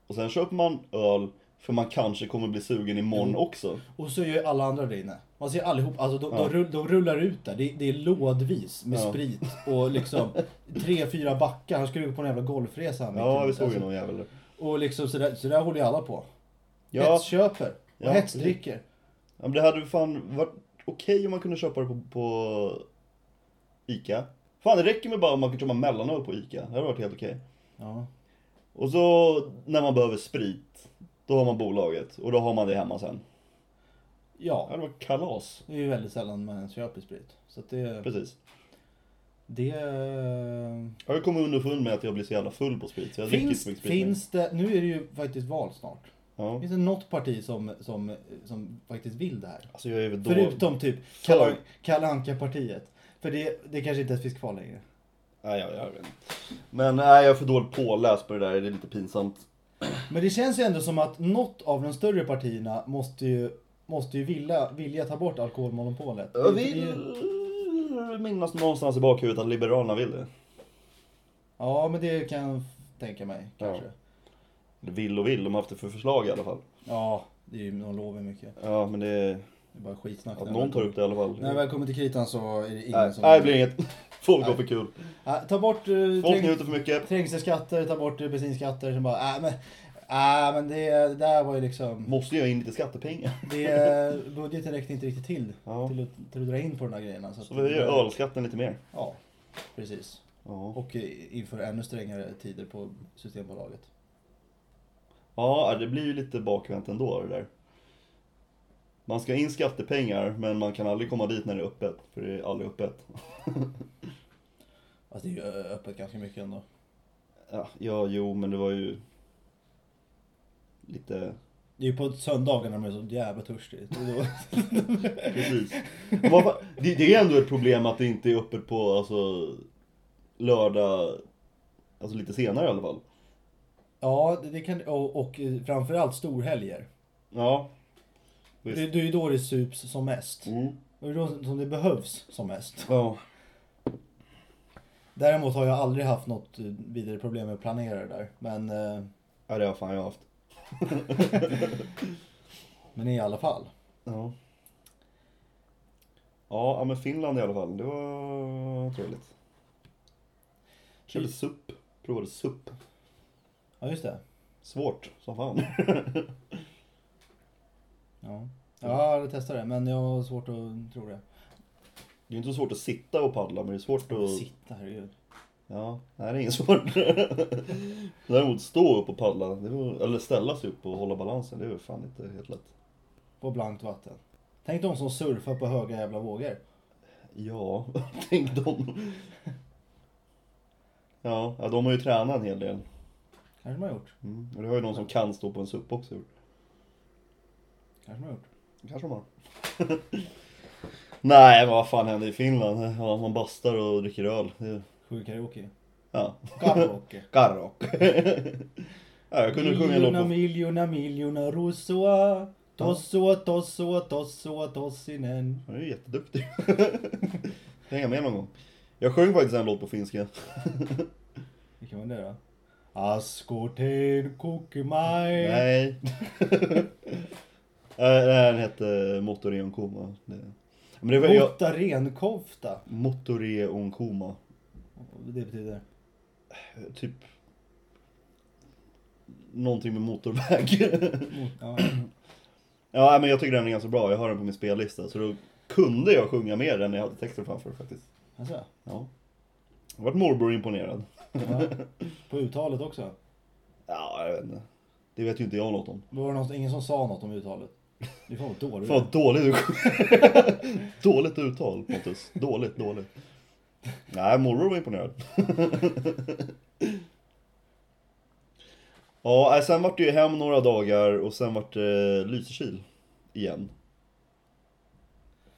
S1: och sen köper man öl för man kanske kommer bli sugen imorgon också.
S2: Och så är ju alla andra där inne. Man ser allihop, alltså de,
S1: Ja.
S2: de, rull, de rullar ut där. Det, det är lådvis med
S1: Ja.
S2: sprit och liksom tre, fyra backar. Han skulle gå på en jävla golfresa. han
S1: Ja,
S2: mitt i-
S1: vi såg ju
S2: alltså,
S1: någon jävel där.
S2: Och liksom sådär, så där håller ju alla på.
S1: Ja.
S2: Hetsköper och
S1: Ja,
S2: hetsdricker.
S1: Ja, men det hade fan varit okej om man kunde köpa det på, på Ica. Fan det räcker med bara om man kan köpa mellanöl på ICA, det hade varit helt okej.
S2: Ja.
S1: Och så när man behöver sprit, då har man bolaget och då har man det hemma sen. Ja,
S2: ja,
S1: det var kalas.
S2: det är ju väldigt sällan man ens köper sprit. Så att det...
S1: Precis.
S2: det eh,
S1: Jag har kommit underfund med att jag blir så jävla full på sprit, så jag dricker inte
S2: finns,
S1: så mycket sprit längre.
S2: finns det... Nu är det ju faktiskt val snart.
S1: Ja.
S2: Finns det något parti som, som, som faktiskt vill det här?
S1: Alltså jag är väl då...
S2: Förutom typ
S1: För-
S2: Kalle Kalle Anka-partiet. För det, det kanske inte ens finns kvar längre.
S1: Nej, jag, jag vet inte. Men nej, jag är för dåligt påläst på det där, det är lite pinsamt.
S2: Men det känns ju ändå som att något av de större partierna måste ju, måste ju vilja, vilja ta bort alkoholmonopolet.
S1: Jag
S2: Det är ju-
S1: vill minnas någonstans i bakhuvudet att Liberalerna vill det.
S2: Ja, men det kan jag tänka mig kanske. Ja,
S1: Eller Vill och vill, de har haft det för förslag i alla fall.
S2: det är ju, de lovar mycket.
S1: Ja, men det är...
S2: Det är bara skitsnack.
S1: Att
S2: när
S1: någon
S2: väl
S1: tar
S2: kommer-
S1: upp det i alla fall.
S2: När det väl kommer till kritan så är det ingen
S1: Nej,
S2: som...
S1: nej, det blir inget. Folk går
S2: Nej.
S1: för kul.
S2: Ja, ta bort eh,
S1: Folk
S2: träng-
S1: njuter för mycket.
S2: trängselskatter, ta bort eh, bensinskatter. Sen bara, äh, men, äh, men det, det där var ju liksom...
S1: Måste jag in lite skattepengar.
S2: Det, budgeten räckte inte riktigt till,
S1: Ja.
S2: till, att, till att dra in på de där grejerna. Så,
S1: Så
S2: att-
S1: vi höjer ölskatten lite mer.
S2: Ja, precis.
S1: Ja,
S2: Och eh, inför ännu strängare tider på Systembolaget.
S1: ja det blir ju lite bakvänt ändå det där. Man ska in skattepengar, men man kan aldrig komma dit när det är öppet. För det är aldrig öppet.
S2: Alltså det är ju ö- öppet ganska mycket ändå.
S1: Ja, ja jo, men det var ju... Lite...
S2: Det är ju på söndagar när man är så jävla törstig. Och då-
S1: Precis. Och vad fan- Det, det är ändå ett problem att det inte är öppet på alltså, lördag, alltså lite senare i alla fall.
S2: Ja, det- det kan, och, och eh, framförallt storhelger.
S1: Ja. Visst.
S2: Det, det är ju då det sups som mest.
S1: Mm.
S2: Och det är då som det behövs som mest.
S1: Ja.
S2: Däremot har jag aldrig haft något eh, vidare problem med att planera det där. Men, eh,
S1: Ja, det har fan jag haft.
S2: men i alla fall.
S1: Ja. Ja, ja, men Finland i alla fall. Det var trevligt. Körde SUP. Provade SUP.
S2: Ja, just det.
S1: Svårt som fan.
S2: Ja. Ja, jag hade testat det, men jag har svårt att tro det.
S1: Det är ju inte så svårt att sitta och paddla, men det är svårt att...
S2: Sitta, herregud.
S1: Ja, nej det är inget svårt. Däremot stå upp och paddla, det var, eller ställa sig upp och hålla balansen, det är väl fan inte helt lätt.
S2: På blankt vatten. Tänk de som surfar på höga jävla vågor.
S1: Ja, tänk dem. Ja, ja, de har ju tränat en hel del.
S2: Kanske man har gjort.
S1: Mm. Och det har ju någon som kan stå på en SUP också gjort.
S2: Kanske man har gjort.
S1: Det kanske de har. Nej, men vad fan händer i Finland? Ja, man bastar och dricker öl. Det-
S2: Sju karaoke.
S1: Ja,
S2: Karaoke.
S1: garrock. ja, jag kunde sjunga en låt
S2: Miljona,
S1: på...
S2: miljona, miljona, russoa. Tossoa, tossoa, tossoa, tossinen.
S1: Han är ju jätteduktig. Hänga med någon gång. Jag sjöng faktiskt en låt på finska.
S2: Vilken var det då? Askoten kukimaj.
S1: Nej. Nej, Den hette Motore Onkoma. Det- Men det var jag...
S2: Kofta renkofta.
S1: Motore Onkoma.
S2: Det betyder?
S1: Typ... Någonting med motorväg.
S2: Mot, ja.
S1: ja, men jag tycker den är ganska bra. Jag har den på min spellista. Så då kunde jag sjunga med den när jag hade texten framför faktiskt.
S2: Alltså,
S1: Ja. Jag vart morbror imponerad.
S2: ja. På uttalet också.
S1: Ja, jag vet inte. Det vet ju inte jag något om.
S2: Var det någon, ingen som sa något om uttalet? Det är fan vad dåligt.
S1: Fan vad dåligt du Dåligt uttal Pontus. Dåligt, dåligt. Nej, morbror var imponerad. ja, nej, sen vart det ju hem några dagar och sen vart det Lysekil igen.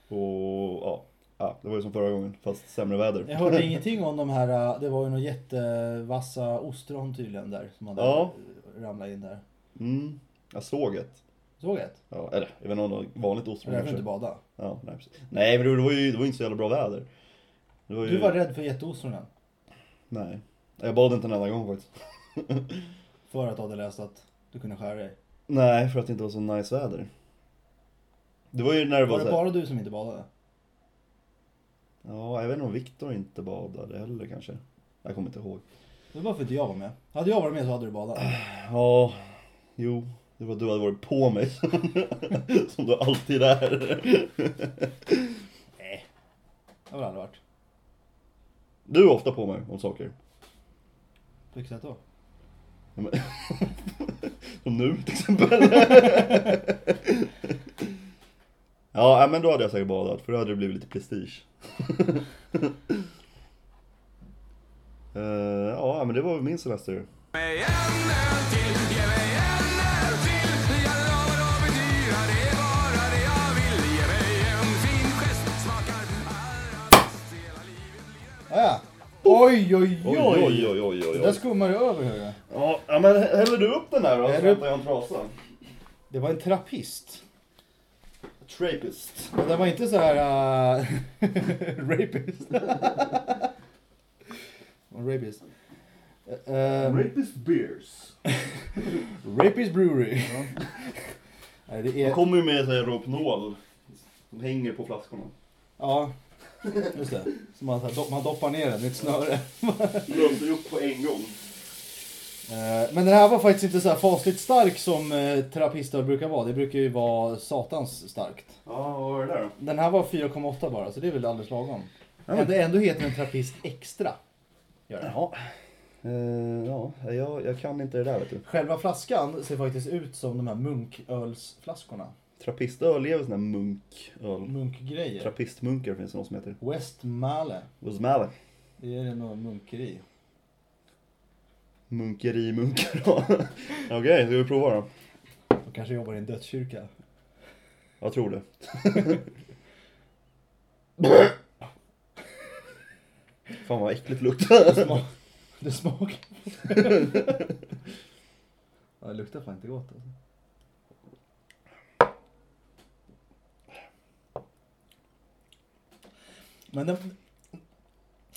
S1: Och ja, ja, det var ju som förra gången fast sämre väder.
S2: Jag hörde ingenting om de här, äh, det var ju några jättevassa ostron tydligen där som hade
S1: Ja.
S2: ramlat in där.
S1: Mm, jag såg ett.
S2: Såg jag ett?
S1: Ja, eller jag vet inte om det var vanligt
S2: Det
S1: ostron
S2: var därför du
S1: kanske.
S2: inte bada.
S1: Ja, nej, precis. nej, men det var ju det var ju inte så jävla bra väder. Det var ju...
S2: Du var rädd för jätteostronen.
S1: Nej. Jag bad inte en enda gång faktiskt.
S2: För att du hade läst att du kunde skära dig.
S1: Nej, för att det inte var så nice väder. Det var ju när det var,
S2: Var det
S1: så här-
S2: bara du som inte badade?
S1: Ja, jag vet inte om Viktor inte badade heller kanske. Jag kommer inte ihåg.
S2: Det var för att jag var med. Hade jag varit med så hade du badat.
S1: Ja, jo. Det var du hade varit på mig. Som du alltid är.
S2: Jag har aldrig varit.
S1: Du är ofta på mig om saker.
S2: På vilket sätt då?
S1: Ja, men- Som nu till exempel. ja, nej, men då hade jag säkert badat för då hade det blivit lite prestige. Eh, ja, men det var väl min semester.
S2: Ah, ja. Oj, oj,
S1: Oj,
S2: oj!
S1: oj, oj, oj, oj.
S2: Det där skummar det över hörru.
S1: Ja, ja, men häller du upp den här då?
S2: Häller
S1: Häller
S2: upp.
S1: upp jag en trasa.
S2: Det var en trappist.
S1: Trapist.
S2: Men den var inte så här... Uh, rapist. En rapist. Eh,
S1: Rapist beers.
S2: rapist Brewery. Nej, det
S1: De
S2: är...
S1: kommer ju med såhär Rohypnol. De hänger på flaskorna.
S2: Ja, just det. Så man, så här, do- man doppar ner den i ett snöre.
S1: Löser upp på en gång.
S2: Eh, Men den här var faktiskt inte så här fasligt stark som eh, trappistöl brukar vara. Det brukar ju vara satans starkt.
S1: Ja, vad var det där då?
S2: Den här var 4,8 bara, så det är väl alldeles lagom.
S1: Ja.
S2: Ändå, ändå heter den trappist extra. Gör den.
S1: Ja. Eh, ja, jag, jag kan inte det där vet du.
S2: Själva flaskan ser faktiskt ut som de här munkölsflaskorna.
S1: Trappistöl är väl sån där munköl.
S2: Munkgrejer.
S1: Trappistmunkar finns det någon som heter.
S2: Westmalle.
S1: Osmale.
S2: Det är något munkeri.
S1: Munkeri munkar då. Okej, ska vi prova då?
S2: De kanske jobbar i en dödskyrka.
S1: Jag tror det. Fan vad äckligt det luktar.
S2: Det smak- Det smakar... ja, det luktar fan inte gott alltså. Men den,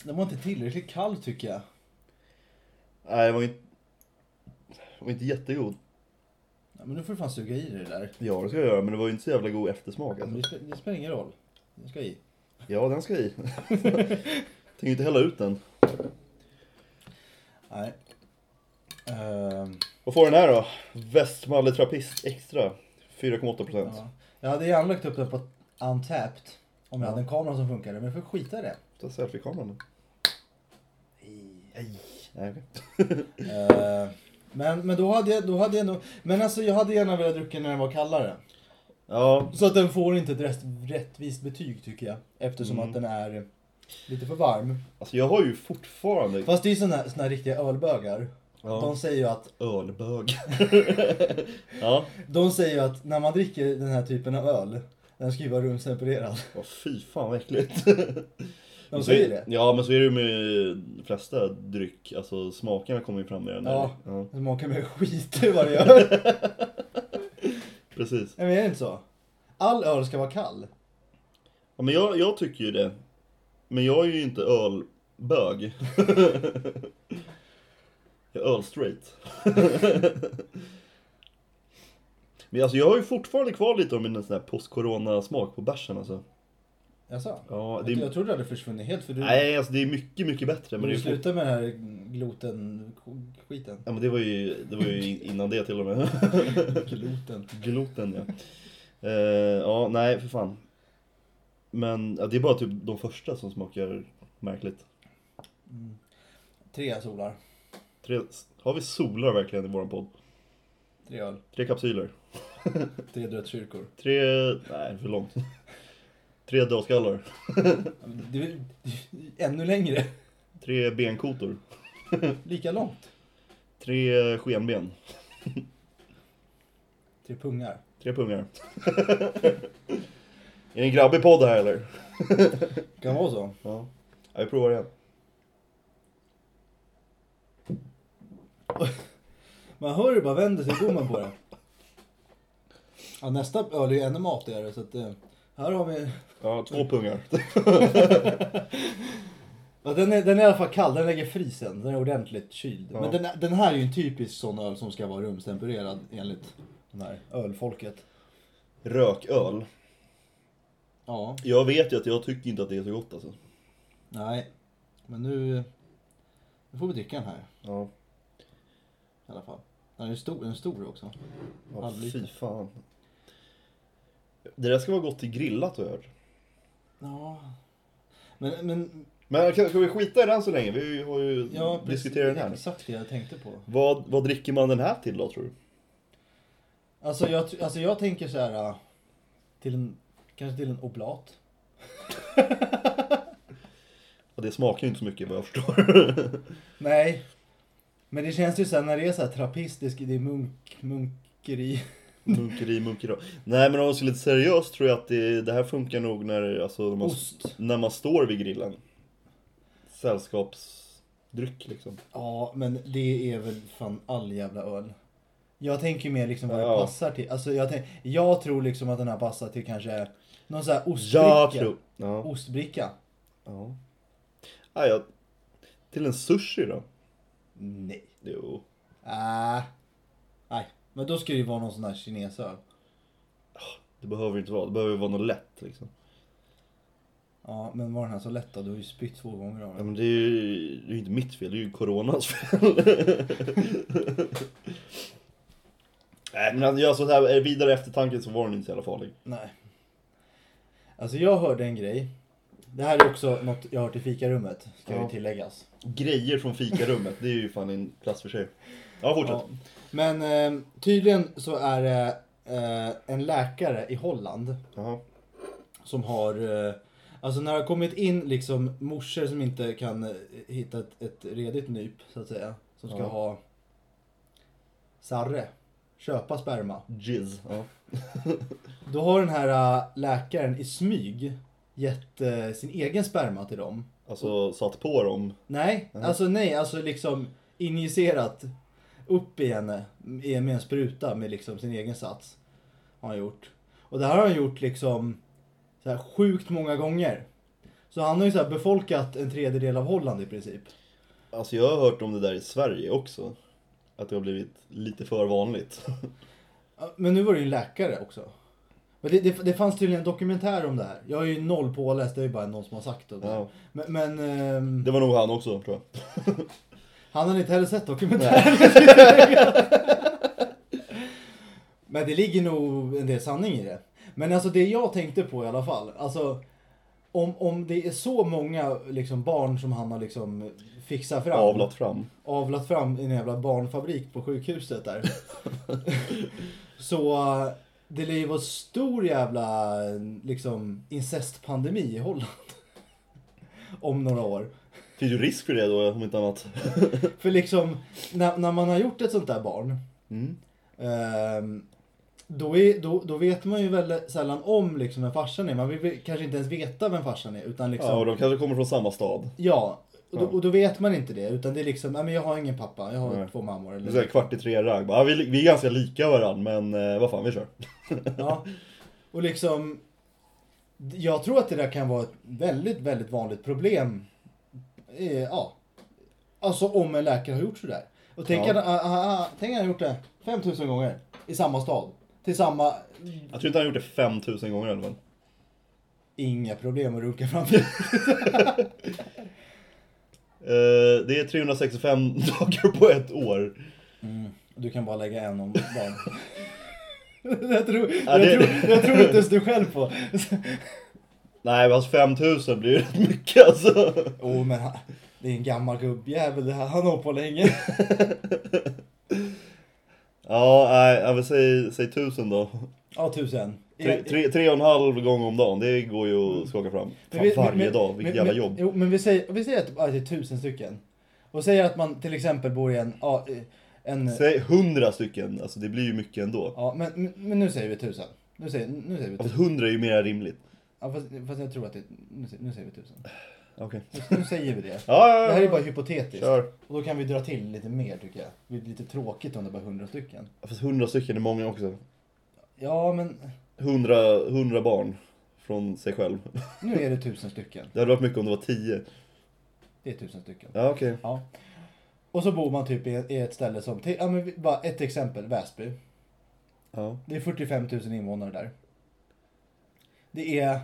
S2: den var inte tillräckligt kall tycker jag.
S1: Nej, det var inte, det var inte jättegod.
S2: Ja, men nu får du fan suga i dig det där.
S1: Ja, det ska jag göra, men det var ju inte så jävla god eftersmak
S2: Men
S1: alltså.
S2: Det, spe- det spelar ingen roll. Den ska i.
S1: Ja, den ska i. Tänker inte hälla ut den.
S2: Nej. Ehm,
S1: Vad får den här då? Västmalle Trappist Extra. 4,8%.
S2: ja. Jag hade gärna lagt upp den på Untapped. Om jag
S1: Ja.
S2: hade en kamera som funkade. Men jag får skita i det.
S1: Ta selfie-kameran då. Nej, okej.
S2: Eh, men, men då hade jag, då hade jag nog, men alltså jag hade gärna velat dricka när den var kallare.
S1: Ja,
S2: Så att den får inte ett rätt, rättvist betyg tycker jag. Eftersom
S1: Mm.
S2: att den är lite för varm.
S1: alltså jag har ju fortfarande...
S2: Fast det är ju såna, såna här riktiga ölbögar.
S1: Ja.
S2: De säger ju att,
S1: Ölbög. ja.
S2: de säger ju att när man dricker den här typen av öl, den ska ju vara rumstempererad.
S1: Åh, fy fan vad äckligt.
S2: De
S1: Så är-
S2: säger det.
S1: Ja, men så är det ju med de flesta dryck. Alltså smakerna kommer ju fram i den där.
S2: Ja.
S1: ja.
S2: Det smakar mer skit i vad det gör. Nej
S1: Precis.
S2: men är det inte så? All öl ska vara kall.
S1: Ja, men jag, jag tycker ju det. Men jag är ju inte ölbög. jag är ölstraight. men alltså jag har ju fortfarande kvar lite av min sån här post-corona-smak på bärsen alltså.
S2: Jaså?
S1: Ja, det
S2: Jag,
S1: är,
S2: jag trodde det hade försvunnit helt för du,
S1: nej, alltså det är mycket, mycket bättre. Men
S2: du
S1: det, är fort,
S2: slutade med den här gloten-skiten.
S1: ja, men det var ju, det var ju in- innan det till och med.
S2: Gloten.
S1: Gloten ja. Eh, ja, nej för fan. Men ja, det är bara typ de första som smakar märkligt.
S2: Mm. Tre solar.
S1: Tre, har vi solar verkligen i våran podd?
S2: Tre öl.
S1: Tre kapsyler.
S2: Tre dödskyrkor.
S1: Tre... Nej, för långt. Tre dödskallar.
S2: Det är, ännu längre.
S1: Tre benkotor.
S2: Lika långt.
S1: Tre skenben.
S2: Tre pungar.
S1: Tre pungar. är det en grabbig podd här eller?
S2: Kan vara så.
S1: Ja. ja vi provar igen.
S2: Man hör ju bara vänder sig gommen på det. Ja, nästa öl är ju ännu matigare så att eh, här har vi...
S1: Ja, två pungar.
S2: Ja, den, är, den är i alla fall kall, den lägger frisen. Den är ordentligt kyld.
S1: Ja.
S2: Men den, den här är ju en typisk sån öl som ska vara rumstempererad enligt den här ölfolket.
S1: Rököl.
S2: Ja,
S1: Jag vet ju att jag tycker inte att det är så gott alltså.
S2: nej. Men nu, nu får vi dricka den här.
S1: Ja.
S2: i alla fall. Den är stor, den är stor också.
S1: Ja,
S2: Halvliter.
S1: fy fan. Det där ska vara gott till grillat har jag hört.
S2: Ja. Men, men
S1: Men kan, kan vi skita i den så länge? Vi har ju
S2: Ja, precis.
S1: diskuterat den här.
S2: Exakt det jag tänkte på.
S1: Vad, vad dricker man den här till då tror du?
S2: Alltså jag, tr- alltså jag tänker så här. äh, Till en, kanske till en oblat.
S1: Ja, det smakar ju inte så mycket vad jag förstår.
S2: Nej. Men det känns ju sen när det är så här trappistisk, det är munk, munkeri.
S1: Munkeri, munkeri. Nej men om man ser lite seriöst tror jag att det, det här funkar nog när, alltså, när, man,
S2: Ost.
S1: när man står vid grillen. Sällskapsdryck liksom.
S2: Ja, men det är väl fan all jävla öl. Jag tänker mer liksom vad det
S1: Ja.
S2: passar till. Alltså jag, tänk, jag tror liksom att den här passar till kanske någon sån här ostbricka.
S1: Jag tror... Ja.
S2: Ostbricka?
S1: ja. Nej, jag, till en sushi då?
S2: Nej.
S1: Jo.
S2: Äh. Nej, men då ska det ju vara någon sån här kinesöl.
S1: Det behöver ju inte vara, det behöver ju vara något lätt liksom.
S2: Ja, men var den här så lätt då? Du har ju spytt två gånger av
S1: Ja,
S2: den.
S1: men det är ju det är ju inte mitt fel, det är ju coronas fel. Nej men alltså, jag så här, vidare eftertanken så var den inte så jävla farlig.
S2: Nej. Alltså jag hörde en grej. Det här är också något jag har hört i fikarummet, ska ju
S1: Ja.
S2: tilläggas.
S1: Grejer från fikarummet, det är ju fan en plats för sig. Ja, fortsätt.
S2: Ja. Men eh, tydligen så är det eh, en läkare i Holland
S1: Jaha.
S2: som har... Eh, alltså när det har kommit in liksom morsor som inte kan eh, hitta ett, ett redigt nyp, så att säga. Som ska
S1: Ja.
S2: ha... Sarre. Köpa sperma.
S1: Jizz. Ja.
S2: Då har den här äh, läkaren i smyg gett eh, sin egen sperma till dem.
S1: Alltså satt på dem.
S2: Nej, alltså nej, alltså liksom injicerat upp i henne i- med en spruta med liksom sin egen sats. Har han gjort. Och det här har han gjort liksom så här sjukt många gånger. Så han har ju så här befolkat en tredjedel av Holland i princip.
S1: Alltså jag har hört om det där i Sverige också. Att det har blivit lite för vanligt.
S2: Ja, Men nu var det ju en läkare också. Men det, det, det fanns tydligen en dokumentär om det här. Jag är ju noll påläst, det är ju bara någon som har sagt det.
S1: Ja.
S2: Men, men ehm,
S1: Det var nog han också tror jag.
S2: Han har inte heller sett dokumentären. Men det ligger nog en del sanning i det. Men alltså det jag tänkte på i alla fall. Alltså om, om det är så många liksom, barn som han har liksom fixat fram.
S1: Avlat fram.
S2: avlat fram i en jävla barnfabrik på sjukhuset där. så eh, det lär ju vara stor jävla eh, liksom incestpandemi i Holland. om några år.
S1: Finns ju risk för det då om inte annat.
S2: För liksom, när, när man har gjort ett sånt där barn.
S1: Mm.
S2: ehm, då, är, då, då vet man ju väldigt sällan om liksom vem farsan är. Man vill väl kanske inte ens veta vem farsan är. Utan liksom,
S1: Ja,
S2: ja,
S1: och de kanske kommer från samma stad.
S2: och, då, och då vet man inte det. Utan det är liksom, nej men jag har ingen pappa, jag har
S1: Nej.
S2: två mammor.
S1: Det är så här kvart i tre ragg. Bara, Ja, vi, vi är ganska lika varann men eh, vad fan vi kör.
S2: Ja. Och liksom, jag tror att det där kan vara ett väldigt, väldigt vanligt problem. Eh, ja. Alltså om en läkare har gjort sådär. Och tänk
S1: Ja.
S2: att ah, ah, ah, tänk att han har gjort det 5000 gånger i samma stad. Till samma,
S1: Jag tror inte han har gjort det 5000 gånger i alla fall.
S2: inga problem att runka framför.
S1: Eh, det är 365 dagar på ett år.
S2: Du kan bara lägga en om dagen. Jag tror,
S1: Ja,
S2: jag,
S1: det-
S2: tror, jag tror inte ens du själv på.
S1: Nej men alltså 5000 blir ju rätt mycket alltså.
S2: Jo Oh, men han, det är en gammal gubbjävel det här. Han har hållit på länge.
S1: Ja, nej, jag vill säga, säg 1000 då.
S2: Ja tusen.
S1: Tre, tre, tre och en halv gång om dagen, det går ju att skaka fram.
S2: Eh, Men
S1: Fan,
S2: vi-
S1: varje
S2: men-
S1: dag,
S2: men-
S1: vilket jävla
S2: men-
S1: jobb.
S2: Jo, men vi säger, vi säger att, att det är tusen stycken. Och säger att man till exempel bor i en... Ja, i- en
S1: Säg 100 stycken, alltså det blir ju mycket ändå.
S2: ja, men, men- men nu säger vi tusen. Nu säger, nu säger vi
S1: Ja,
S2: tusen.
S1: fast 100 är ju mer rimligt.
S2: Ja, fast, fast jag tror att det... Nu säger, nu säger vi tusen.
S1: Okej.
S2: Nu, nu säger vi det.
S1: Ja, ja,
S2: Det
S1: ja.
S2: här är bara hypotetiskt.
S1: Kör.
S2: Och då kan vi dra till lite mer tycker jag. Det blir lite tråkigt om det bara är hundra stycken.
S1: Ja, Fast 100 stycken är många också.
S2: Ja, men
S1: 100, 100 barn från sig själv.
S2: nu är det tusen stycken.
S1: Det hade varit mycket om det var 10.
S2: Det är tusen stycken.
S1: Ja, okej.
S2: Ja. Och så bor man typ i, i ett ställe som... till- Ja, men vi- bara ett exempel. Väsby.
S1: Ja.
S2: Det är 45 000 invånare där. Det är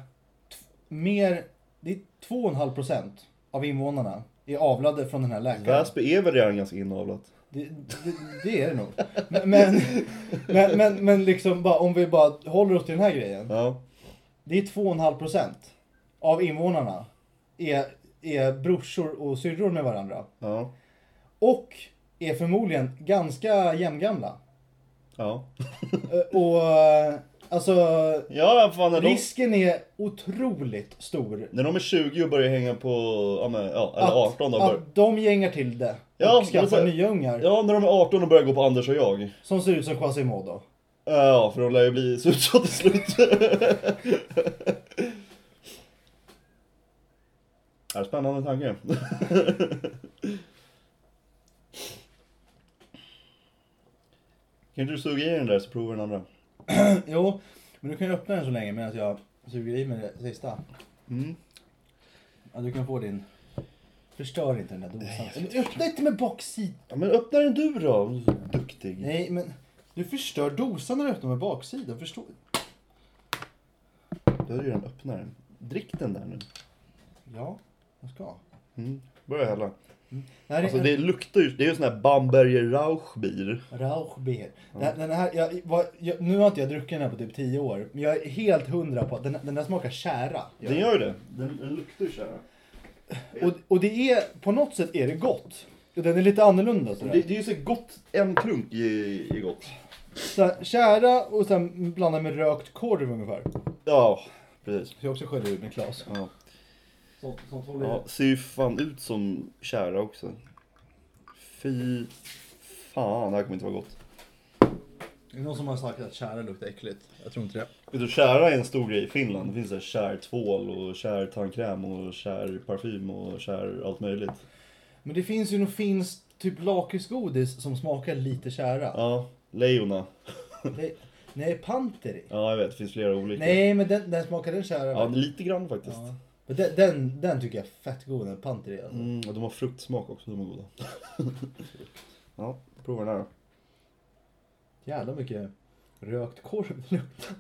S2: t- mer, det är 2,5 procent av invånarna är avlade från den här läkaren.
S1: Väsby är väl redan ganska inavlat?
S2: Det, det, det är det nog. Men, men, men, men, men liksom bara, om vi bara håller oss till den här grejen.
S1: Ja.
S2: Det är 2,5 procent av invånarna är är brorsor och syrror med varandra.
S1: Ja.
S2: Och är förmodligen ganska jämngamla.
S1: Ja.
S2: Eh, Och eh, alltså
S1: Ja, fan när de,
S2: risken är otroligt stor.
S1: när de är 20 och börjar hänga på, ja, men, ja eller 18 då.
S2: att
S1: Bör,
S2: de gängar till det
S1: Ja,
S2: och
S1: men
S2: skaffar
S1: så-
S2: nya ungar
S1: ja, när de är 18 och börjar gå på Anders och jag.
S2: som ser ut som Quasimodo.
S1: Ja, för de lär ju bli sutsar till slut. Det är spännande tanke. Kan inte du suga i den där så provar vi den andra?
S2: Jo, men du kan ju öppna den så länge medan jag suger i mig det sista.
S1: Mm.
S2: Ja, du kan få din... Förstör inte den där dosan. Men öppna inte med baksidan!
S1: Ja, men öppna den du då, du är så duktig.
S2: Nej, men du förstör dosan när du öppnar med baksidan. Förstår
S1: Du har ju redan öppnat den. Drick den där nu.
S2: Ja, jag ska.
S1: Mm. Börja hälla.
S2: Det här är
S1: Alltså
S2: en
S1: det luktar ju, det är ju sån här Bamberger Rauchbier.
S2: Rauchbier. Den här, den här, jag, vad, jag, nu har inte jag druckit den här på typ 10 år, men jag är helt hundra på att den, den här smakar tjära.
S1: Den gör ju det. Den, den luktar ju så här.
S2: Och, och det är, på något sätt är det gott. Och Den är lite annorlunda
S1: Det,
S2: sådär.
S1: det är ju så gott, en klunk i, i gott.
S2: Såhär, Tjära och sen blanda med rökt korv ungefär.
S1: Ja, precis.
S2: Så jag också sköljer ut med Klas.
S1: Ja.
S2: Sånt, sånt håller
S1: Ja, ser ju fan ut som kära också. Fy fan, det här kommer inte vara gott.
S2: Det är någon som har sagt att tjära luktar äckligt. Jag tror inte det.
S1: Vet du, kära är en stor grej i Finland. Det finns så här kär tvål och kär tandkräm och kär parfym och kär allt möjligt.
S2: Men det finns ju nog finns typ lakritsgodis som smakar lite tjära.
S1: Ja, lejona.
S2: Det- Nej, Panteri.
S1: Ja, jag vet. Det finns flera olika.
S2: Nej, men den, den smakar den tjära.
S1: Ja, lite grann faktiskt.
S2: Ja. Men den, den, den tycker jag är fett god, den Panteri. Alltså.
S1: Mm, och de har fruktsmak också, de är goda. ja, prova den här då.
S2: Jävla mycket rökt korv det luktar.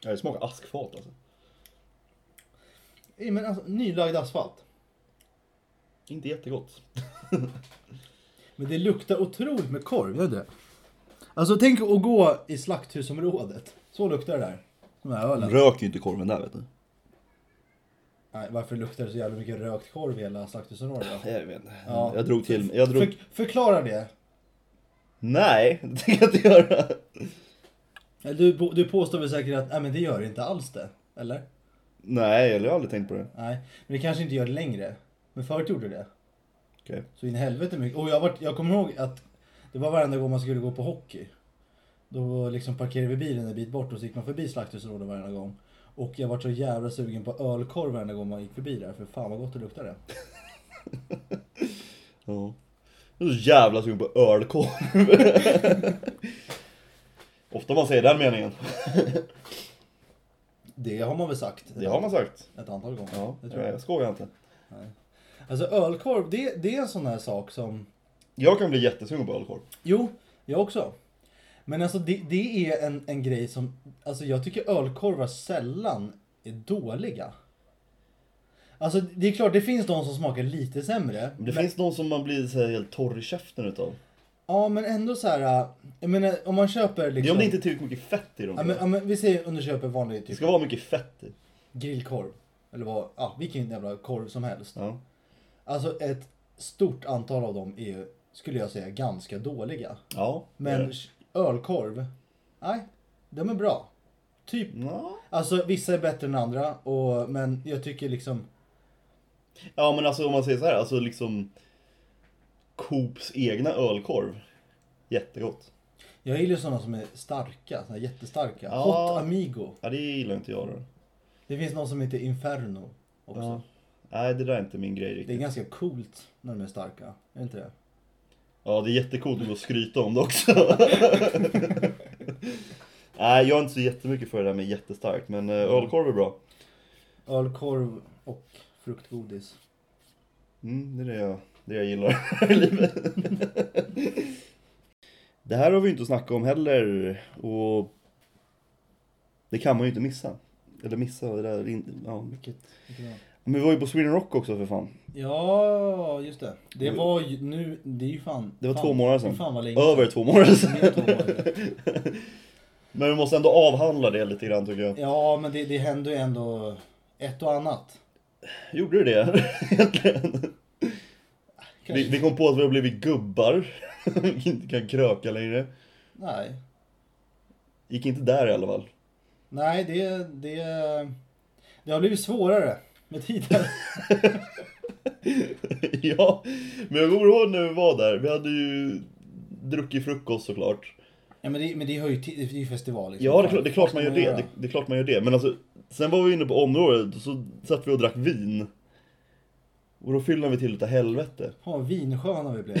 S1: Ja, det smakar askfat alltså.
S2: Nej, men alltså, nylagd asfalt.
S1: Inte jättegott.
S2: Men det luktar otroligt med korv, gör det det? Alltså tänk att gå i slakthusområdet. Så luktar det där. De här ölen.
S1: Rök ju inte korven där vet du.
S2: Nej, varför luktar det så jävla mycket rökt korv i hela slakthusområdet? då?
S1: Jag vet inte.
S2: Ja.
S1: Jag drog till jag drog...
S2: För, förklara det.
S1: Nej, det tänker jag inte göra.
S2: Du, på- du påstår väl säkert att nej, men det gör inte alls det? Eller?
S1: Nej, eller jag har aldrig tänkt på det.
S2: Nej, men det kanske inte gör det längre. Men förut gjorde det.
S1: Okej.
S2: Så in i helvete mycket. Och jag, varit, jag kommer ihåg att det var varenda gång man skulle gå på hockey. Då liksom parkerade vi bilen en bit bort och så gick man förbi slakthusområdet varenda gång. Och jag var så jävla sugen på ölkorv varenda gång man gick förbi där. För fan vad gott det luktade.
S1: Ja. Jag är så jävla sugen på ölkorv. Ofta man säger den meningen.
S2: Det har man väl sagt
S1: Det har man sagt.
S2: ett antal gånger.
S1: Ja,
S2: det
S1: jag,
S2: tror jag.
S1: skojar inte.
S2: Alltså ölkorv, det, det är en sån här sak som...
S1: Jag kan bli jättesugen på ölkorv.
S2: Jo, jag också. Men alltså det, det är en, en grej som, alltså jag tycker ölkorvar sällan är dåliga. Alltså det är klart det finns de som smakar lite sämre.
S1: Men det finns någon som man blir så här helt torr i käften utav.
S2: Ja men ändå så här. äh, jag menar om man köper
S1: Det
S2: liksom.
S1: är om det inte är tillräckligt mycket fett i dem.
S2: ja, men, ja, men vi säger om du köper vanlig
S1: Det
S2: typ
S1: ska vara mycket fett i.
S2: grillkorv. Eller vad, ja vilken jävla korv som helst.
S1: Ja.
S2: Alltså ett stort antal av dem är ju, skulle jag säga, ganska dåliga.
S1: ja
S2: Men
S1: det är det.
S2: ölkorv, nej, de är bra. Typ
S1: Ja.
S2: Alltså vissa är bättre än andra, och, men jag tycker liksom...
S1: ja, men alltså om man säger så här, alltså liksom Coops egna ölkorv. Jättegott.
S2: Jag gillar sådana som är starka, såna här jättestarka.
S1: Ja.
S2: Hot Amigo.
S1: Ja, det gillar inte jag då.
S2: Det finns någon som heter Inferno också.
S1: Ja. Nej, det där är inte min grej
S2: Det är
S1: riktigt.
S2: ganska coolt när de är starka, är det inte det?
S1: Ja, det är jättecoolt att gå och skryta om det också. Nej, jag är inte så jättemycket för det där med jättestarkt, men eh, ölkorv är bra.
S2: Ölkorv och fruktgodis.
S1: Mm, det är det jag, det jag gillar i livet. Det här har vi ju inte snackat om heller och det kan man ju inte missa. Eller missa, det där, är in- ja, mycket.
S2: Tycker jag.
S1: Men vi var ju på Sweden Rock också för fan.
S2: Ja, just det. Det var ju nu, det är ju fan...
S1: Mm. Det var
S2: fan,
S1: två månader
S2: det är
S1: sedan.
S2: Fan vad länge
S1: Över två månader sedan.
S2: sedan. Det är två månader.
S1: Men vi måste ändå avhandla det lite grann tycker jag.
S2: Ja, men det, det händer ju ändå ett och annat.
S1: Gjorde du det egentligen? Vi,
S2: Kanske.
S1: vi kom på att vi har blivit gubbar. inte kan kröka längre.
S2: Nej.
S1: Gick inte där i alla fall.
S2: Nej, det, det, det har blivit svårare med tiden.
S1: ja, men jag kommer ihåg när vi var där. Vi hade ju druckit frukost såklart.
S2: ja, men, det, men det hör ju till, det är ju festival. Liksom.
S1: Ja, det är klart, det är klart
S2: Vad
S1: man
S2: ska
S1: gör det.
S2: göra?
S1: det. Det är klart man gör det. Men alltså, sen var vi inne på området och så satt vi och drack vin. Och då fyllde vi till utav helvete.
S2: Fan vad vinsköna vi blev.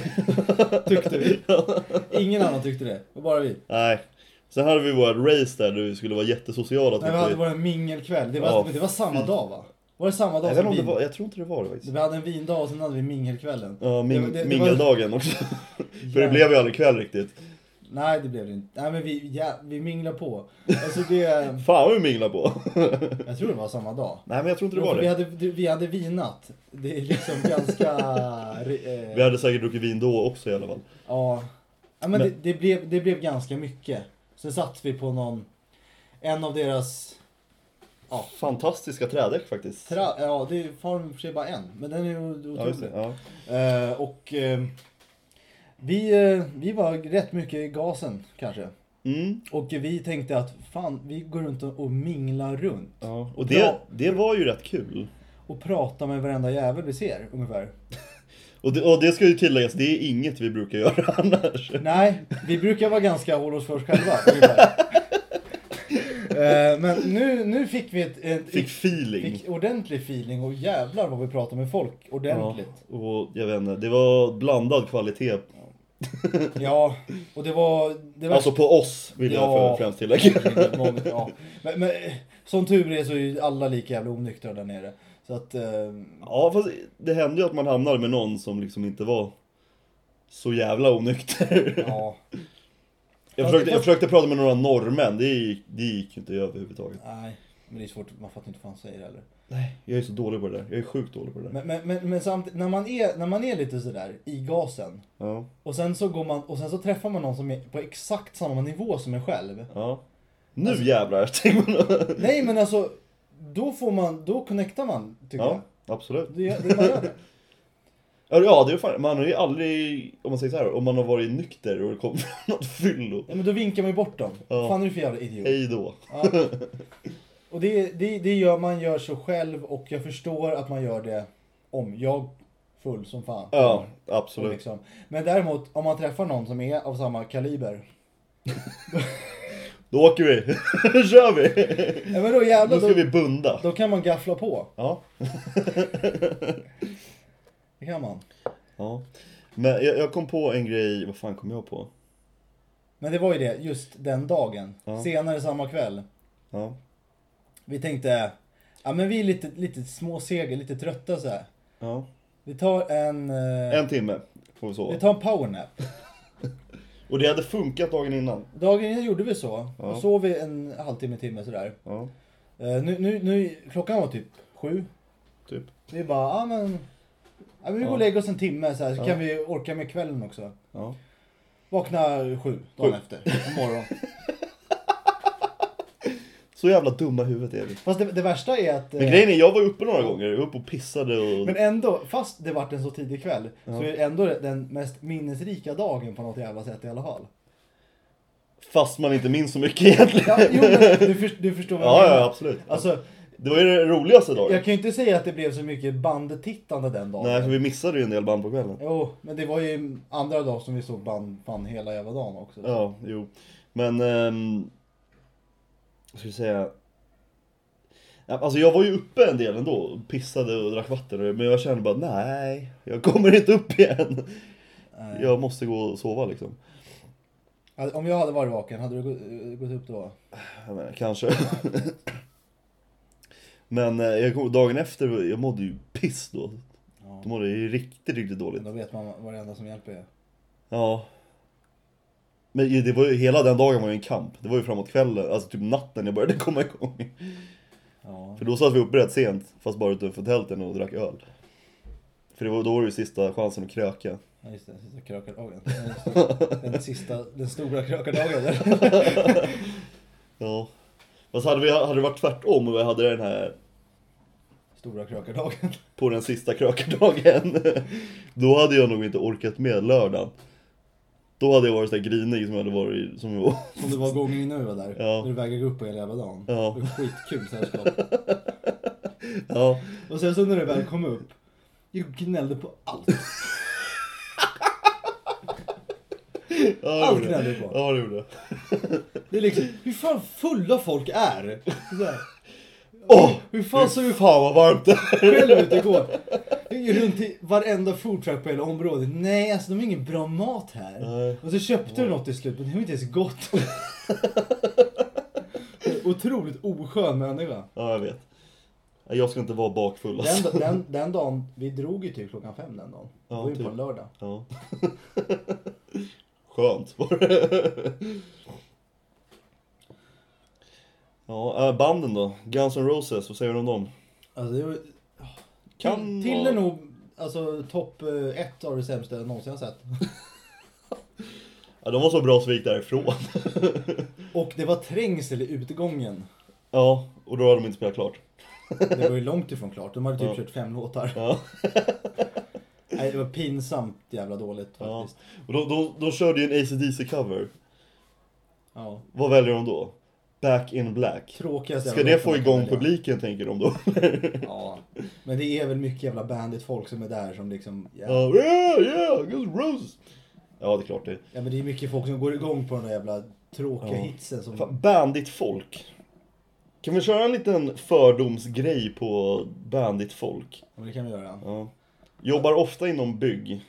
S2: tyckte vi. Ingen annan tyckte det. Det var bara vi.
S1: Nej. Sen hade vi vårt race där där vi skulle vara jättesociala. typ.
S2: Nej, vi
S1: tyckte
S2: hade
S1: vi.
S2: vår mingelkväll. Det var,
S1: Ja,
S2: men det var samma
S1: fy.
S2: dag va? Var det samma dag
S1: jag, vet inte
S2: som
S1: om det
S2: vin?
S1: var, jag tror inte det var det faktiskt.
S2: Vi hade en vindag och sen hade vi mingelkvällen.
S1: Ja,
S2: Det-
S1: min,
S2: det- det
S1: mingeldagen också. För det blev ju aldrig kväll riktigt.
S2: Nej, det blev det inte. Nej, men vi, ja, vi minglade på. Alltså det...
S1: Fan vad vi minglade på.
S2: Jag tror det var samma dag.
S1: Nej men jag tror inte det
S2: Jo,
S1: var
S2: för vi,
S1: det.
S2: hade, du- vi hade vinat. Det är liksom ganska... eh,
S1: Vi hade säkert druckit vin då också i alla fall.
S2: Ja. ja men, Det, det, blev, det blev ganska mycket. Sen satt vi på någon... En av deras... Ja,
S1: Fantastiska trädäck faktiskt.
S2: tra, ja det är form för sig bara en. Men den är ju otrolig.
S1: Ja, just det. Ja.
S2: Eh, och eh, vi, eh, vi var rätt mycket i gasen kanske.
S1: Mm.
S2: Och vi tänkte att fan, vi går runt och och minglar runt.
S1: Ja. Och det, det var ju rätt kul.
S2: Och pratar med varenda jävel vi ser ungefär.
S1: Och det, och det ska ju tilläggas, det är inget vi brukar göra annars.
S2: Nej, vi brukar vara ganska hålla oss för oss själva. ungefär. Eh, Men nu, nu fick vi ett, ett,
S1: Fick feeling.
S2: fick ordentlig feeling och jävlar vad vi pratade med folk ordentligt.
S1: Ja, och jag vet inte, det var blandad kvalitet.
S2: Ja, och det var... Det var
S1: Alltså på oss vill
S2: Ja.
S1: jag för, främst tillägga.
S2: Många- ja. men, men eh, som tur är så är ju alla lika jävla onyktra där nere. Så att... eh,
S1: Ja fast det hände ju att man hamnade med någon som liksom inte var så jävla onykter.
S2: Ja,
S1: Jag försökte, jag försökte prata med några norrmän, det gick, det gick ju inte överhuvudtaget.
S2: nej. Men det är svårt, man fattar inte vad han säger heller.
S1: Nej. Jag är så dålig på det där, jag är sjukt dålig på det där.
S2: Men, men, men, men samtidigt, när man, är, när man är lite sådär i gasen.
S1: Ja,
S2: Och sen så går man och sen så träffar man någon som är på exakt samma nivå som en själv.
S1: ja. Nu
S2: Alltså-
S1: jävlar, tänker man.
S2: Nej men alltså, då får man, då connectar man tycker
S1: Ja, absolut.
S2: jag. Det, det, man gör det.
S1: Ja, Ja, det är fan, man har ju aldrig, om man säger så här, om man har varit nykter och det kommer något fyllo.
S2: Ja, men då vinkar man ju bort dem.
S1: Ja.
S2: Fan är du för jävla idiot?
S1: Hej då.
S2: Ja. Och det, det, det gör man gör så själv och jag förstår att man gör det om jag full som fan.
S1: Ja,
S2: Och
S1: absolut.
S2: liksom. Men däremot om man träffar någon som är av samma kaliber.
S1: Då åker vi. kör vi.
S2: Ja, men då jävlar,
S1: Nu ska
S2: då,
S1: vi bunda.
S2: då kan man gaffla på.
S1: Ja.
S2: Det kan man.
S1: ja. Men jag, jag kom på en grej, vad fan kom jag på?
S2: Men det var ju det just den dagen.
S1: Ja.
S2: Senare samma kväll.
S1: Ja.
S2: Vi tänkte, ja men vi är lite, lite småseger, lite trötta så här.
S1: ja.
S2: Vi tar en, eh,
S1: En timme får vi
S2: vi
S1: sova.
S2: tar en powernap.
S1: Och det hade funkat dagen innan.
S2: Dagen innan gjorde vi så.
S1: Ja.
S2: Och sov vi en halvtimme, timme sådär.
S1: Ja,
S2: Eh, nu, nu, nu, klockan var typ sju.
S1: typ.
S2: Vi bara, ah, men, ja men vi går
S1: Ja.
S2: och lägger oss en timme så, här, så
S1: Ja.
S2: kan vi orka med kvällen också.
S1: Ja.
S2: Vakna sju dagen
S1: Sju.
S2: efter, morgon.
S1: Så jävla dumma i huvudet är vi.
S2: Fast det, det värsta är att... eh,
S1: Men grejen är, jag var uppe några gånger, jag var uppe och pissade och...
S2: men ändå, fast det vart en så tidig kväll,
S1: Ja.
S2: så är det ändå den mest minnesrika dagen på något jävla sätt i alla fall.
S1: Fast man inte minns så mycket egentligen.
S2: Ja, jo, men du, för, du förstår vad jag
S1: Ja,
S2: menar.
S1: ja, absolut.
S2: Alltså,
S1: Det var ju den roligaste dagen.
S2: jag kan ju inte säga att det blev så mycket bandtittande den dagen.
S1: Nej, för vi missade ju en del band på kvällen.
S2: Jo, men det var ju andra dagen som vi såg band fan hela jävla dagen också.
S1: Ja, jo. Men... ehm, vad ska jag säga? Ja, Alltså jag var ju uppe en del ändå, pissade och drack vatten. och- Men jag kände bara nej, jag kommer inte upp igen.
S2: Nej.
S1: Jag måste gå och sova liksom.
S2: Alltså, Om jag hade varit vaken, hade du gå- gått upp då?
S1: Jag menar, kanske. Men eh, jag kom, dagen efter, jag mådde ju piss då.
S2: Ja.
S1: Då mådde jag ju riktigt, riktigt dåligt.
S2: Då vet man vad det enda som hjälper är.
S1: Ja. Men ju- det var ju, hela den dagen var ju en kamp. Det var ju framåt kvällen, alltså typ natten jag började komma igång.
S2: Ja.
S1: För då satt vi uppe rätt sent, fast bara utanför tälten och drack öl. För det var, då var det ju sista chansen att kröka.
S2: Ja, just det, sista krökardagen. Ja, just det. Den sista, den stora krökardagen.
S1: Ja. Fast hade, vi, hade det varit tvärtom och vi hade den här
S2: stora krökardagen.
S1: på den sista krökardagen. Då hade jag nog inte orkat med lördagen. Då hade jag varit så där grinig som jag hade varit som jag var.
S2: Som det var gången innan vi var där.
S1: Ja.
S2: När du vägrade gå upp på hela jävla dagen.
S1: Ja.
S2: Det var skitkul sällskap.
S1: Ja,
S2: Och sen så när du väl kom upp. Du gnällde på allt.
S1: ja
S2: Allt
S1: det gjorde
S2: gnällde
S1: jag.
S2: du på.
S1: Ja, det gjorde jag.
S2: Det är liksom, hur fan fulla folk är. Så här.
S1: Åh!
S2: Hur fan såg
S1: Fy
S2: du
S1: fan vad varmt det är!
S2: själv ut igår? Jag gick runt i varenda foodtruck på hela området. Nej, alltså de har ingen bra mat här.
S1: Nej.
S2: Och så köpte du något till slut, men det var inte ens gott. Otroligt oskön människa.
S1: Ja, jag vet. Nej, Jag ska inte vara bakfull alltså.
S2: Den, den, den dagen, vi drog ju till klockan fem den dagen.
S1: Ja,
S2: det var ju
S1: typ.
S2: på en lördag.
S1: Ja. Skönt var det. Ja, äh, banden då? Guns N' Roses, vad säger du om dem?
S2: Alltså det var,
S1: Kan
S2: till
S1: vara-
S2: är nog alltså, topp eh, ett av det sämsta jag någonsin har sett.
S1: Ja, de var så bra så vi gick därifrån.
S2: Och det var trängsel i utgången.
S1: Ja, och då hade de inte spelat klart.
S2: Det var ju långt ifrån klart. De hade typ
S1: Ja.
S2: kört fem låtar.
S1: Ja.
S2: Nej, det var pinsamt jävla dåligt
S1: Ja.
S2: faktiskt.
S1: Och de, de, de körde ju en ACDC-cover.
S2: Ja.
S1: Vad väljer de då? Back in black.
S2: Tråkigast
S1: Ska
S2: jävla
S1: det
S2: låt
S1: få
S2: man kan
S1: igång
S2: välja.
S1: publiken tänker de då?
S2: Ja. Men det är väl mycket jävla bandit-folk som är där som liksom... Ja.
S1: Ja, yeah, yeah, Guns N' Roses! Ja, det är klart det.
S2: ja men det är mycket folk som går igång på den där jävla
S1: Ja.
S2: tråkiga hitsen som...
S1: Fan, bandit-folk. Kan vi köra en liten fördomsgrej på bandit-folk?
S2: Ja, men det kan vi göra.
S1: Ja. Jobbar ofta inom bygg.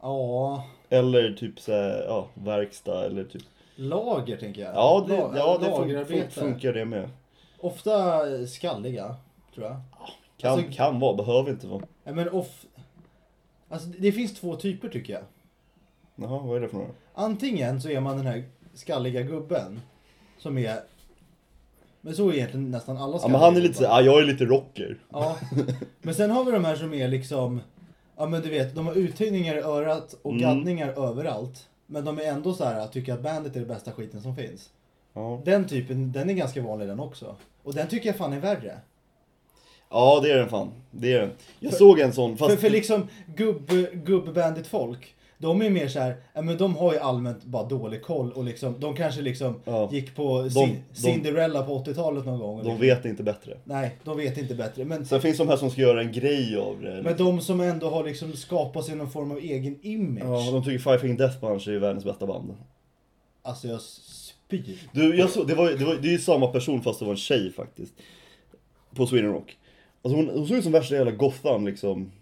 S2: Ja.
S1: Eller typ så här, ja, verkstad eller typ.
S2: Lager tänker jag.
S1: Ja, det,
S2: La-
S1: ja, det fun- fun-
S2: lagerarbete.
S1: funkar det med.
S2: Ofta skalliga, tror jag.
S1: Kan,
S2: Alltså-
S1: kan vara, behöver inte vara.
S2: Ja, men off... Alltså det det finns två typer tycker jag.
S1: Jaha, vad är det för några?
S2: Antingen så är man den här skalliga gubben som är... Men så är egentligen nästan alla
S1: Ja,
S2: skalliga
S1: men han är lite så
S2: gubbar.
S1: här, ja, jag är lite rocker.
S2: Ja. Men sen har vi de här som är liksom... Ja men du vet, de har uttöjningar i örat och
S1: Mm.
S2: gaddningar överallt. Men de är ändå så här att tycker att bandet är det bästa skiten som finns.
S1: Ja.
S2: Den typen, den är ganska vanlig den också. Och den tycker jag fan är värre.
S1: ja, det är den fan. Det är den. Jag såg en sån, fast...
S2: För, för liksom gubb, gubbbandet folk de är ju mer så här, ja, men de har ju allmänt bara dålig koll och liksom, de kanske liksom
S1: Ja.
S2: gick på
S1: de-
S2: Cin- Cinderella på 80-talet någon gång. och
S1: De
S2: liksom,
S1: vet inte bättre.
S2: Nej, de vet inte bättre. Men,
S1: Sen finns de här som ska göra en grej av det.
S2: men de som ändå har liksom skapat sig någon form av egen image.
S1: Ja, de tycker Five Finger Death Punch är världens bästa band.
S2: Alltså jag spyr.
S1: Du, jag såg, det, var, det, var, det är ju samma person fast det var en tjej faktiskt. På Sweden Rock. Alltså hon, hon såg ut som värsta jävla gothan liksom.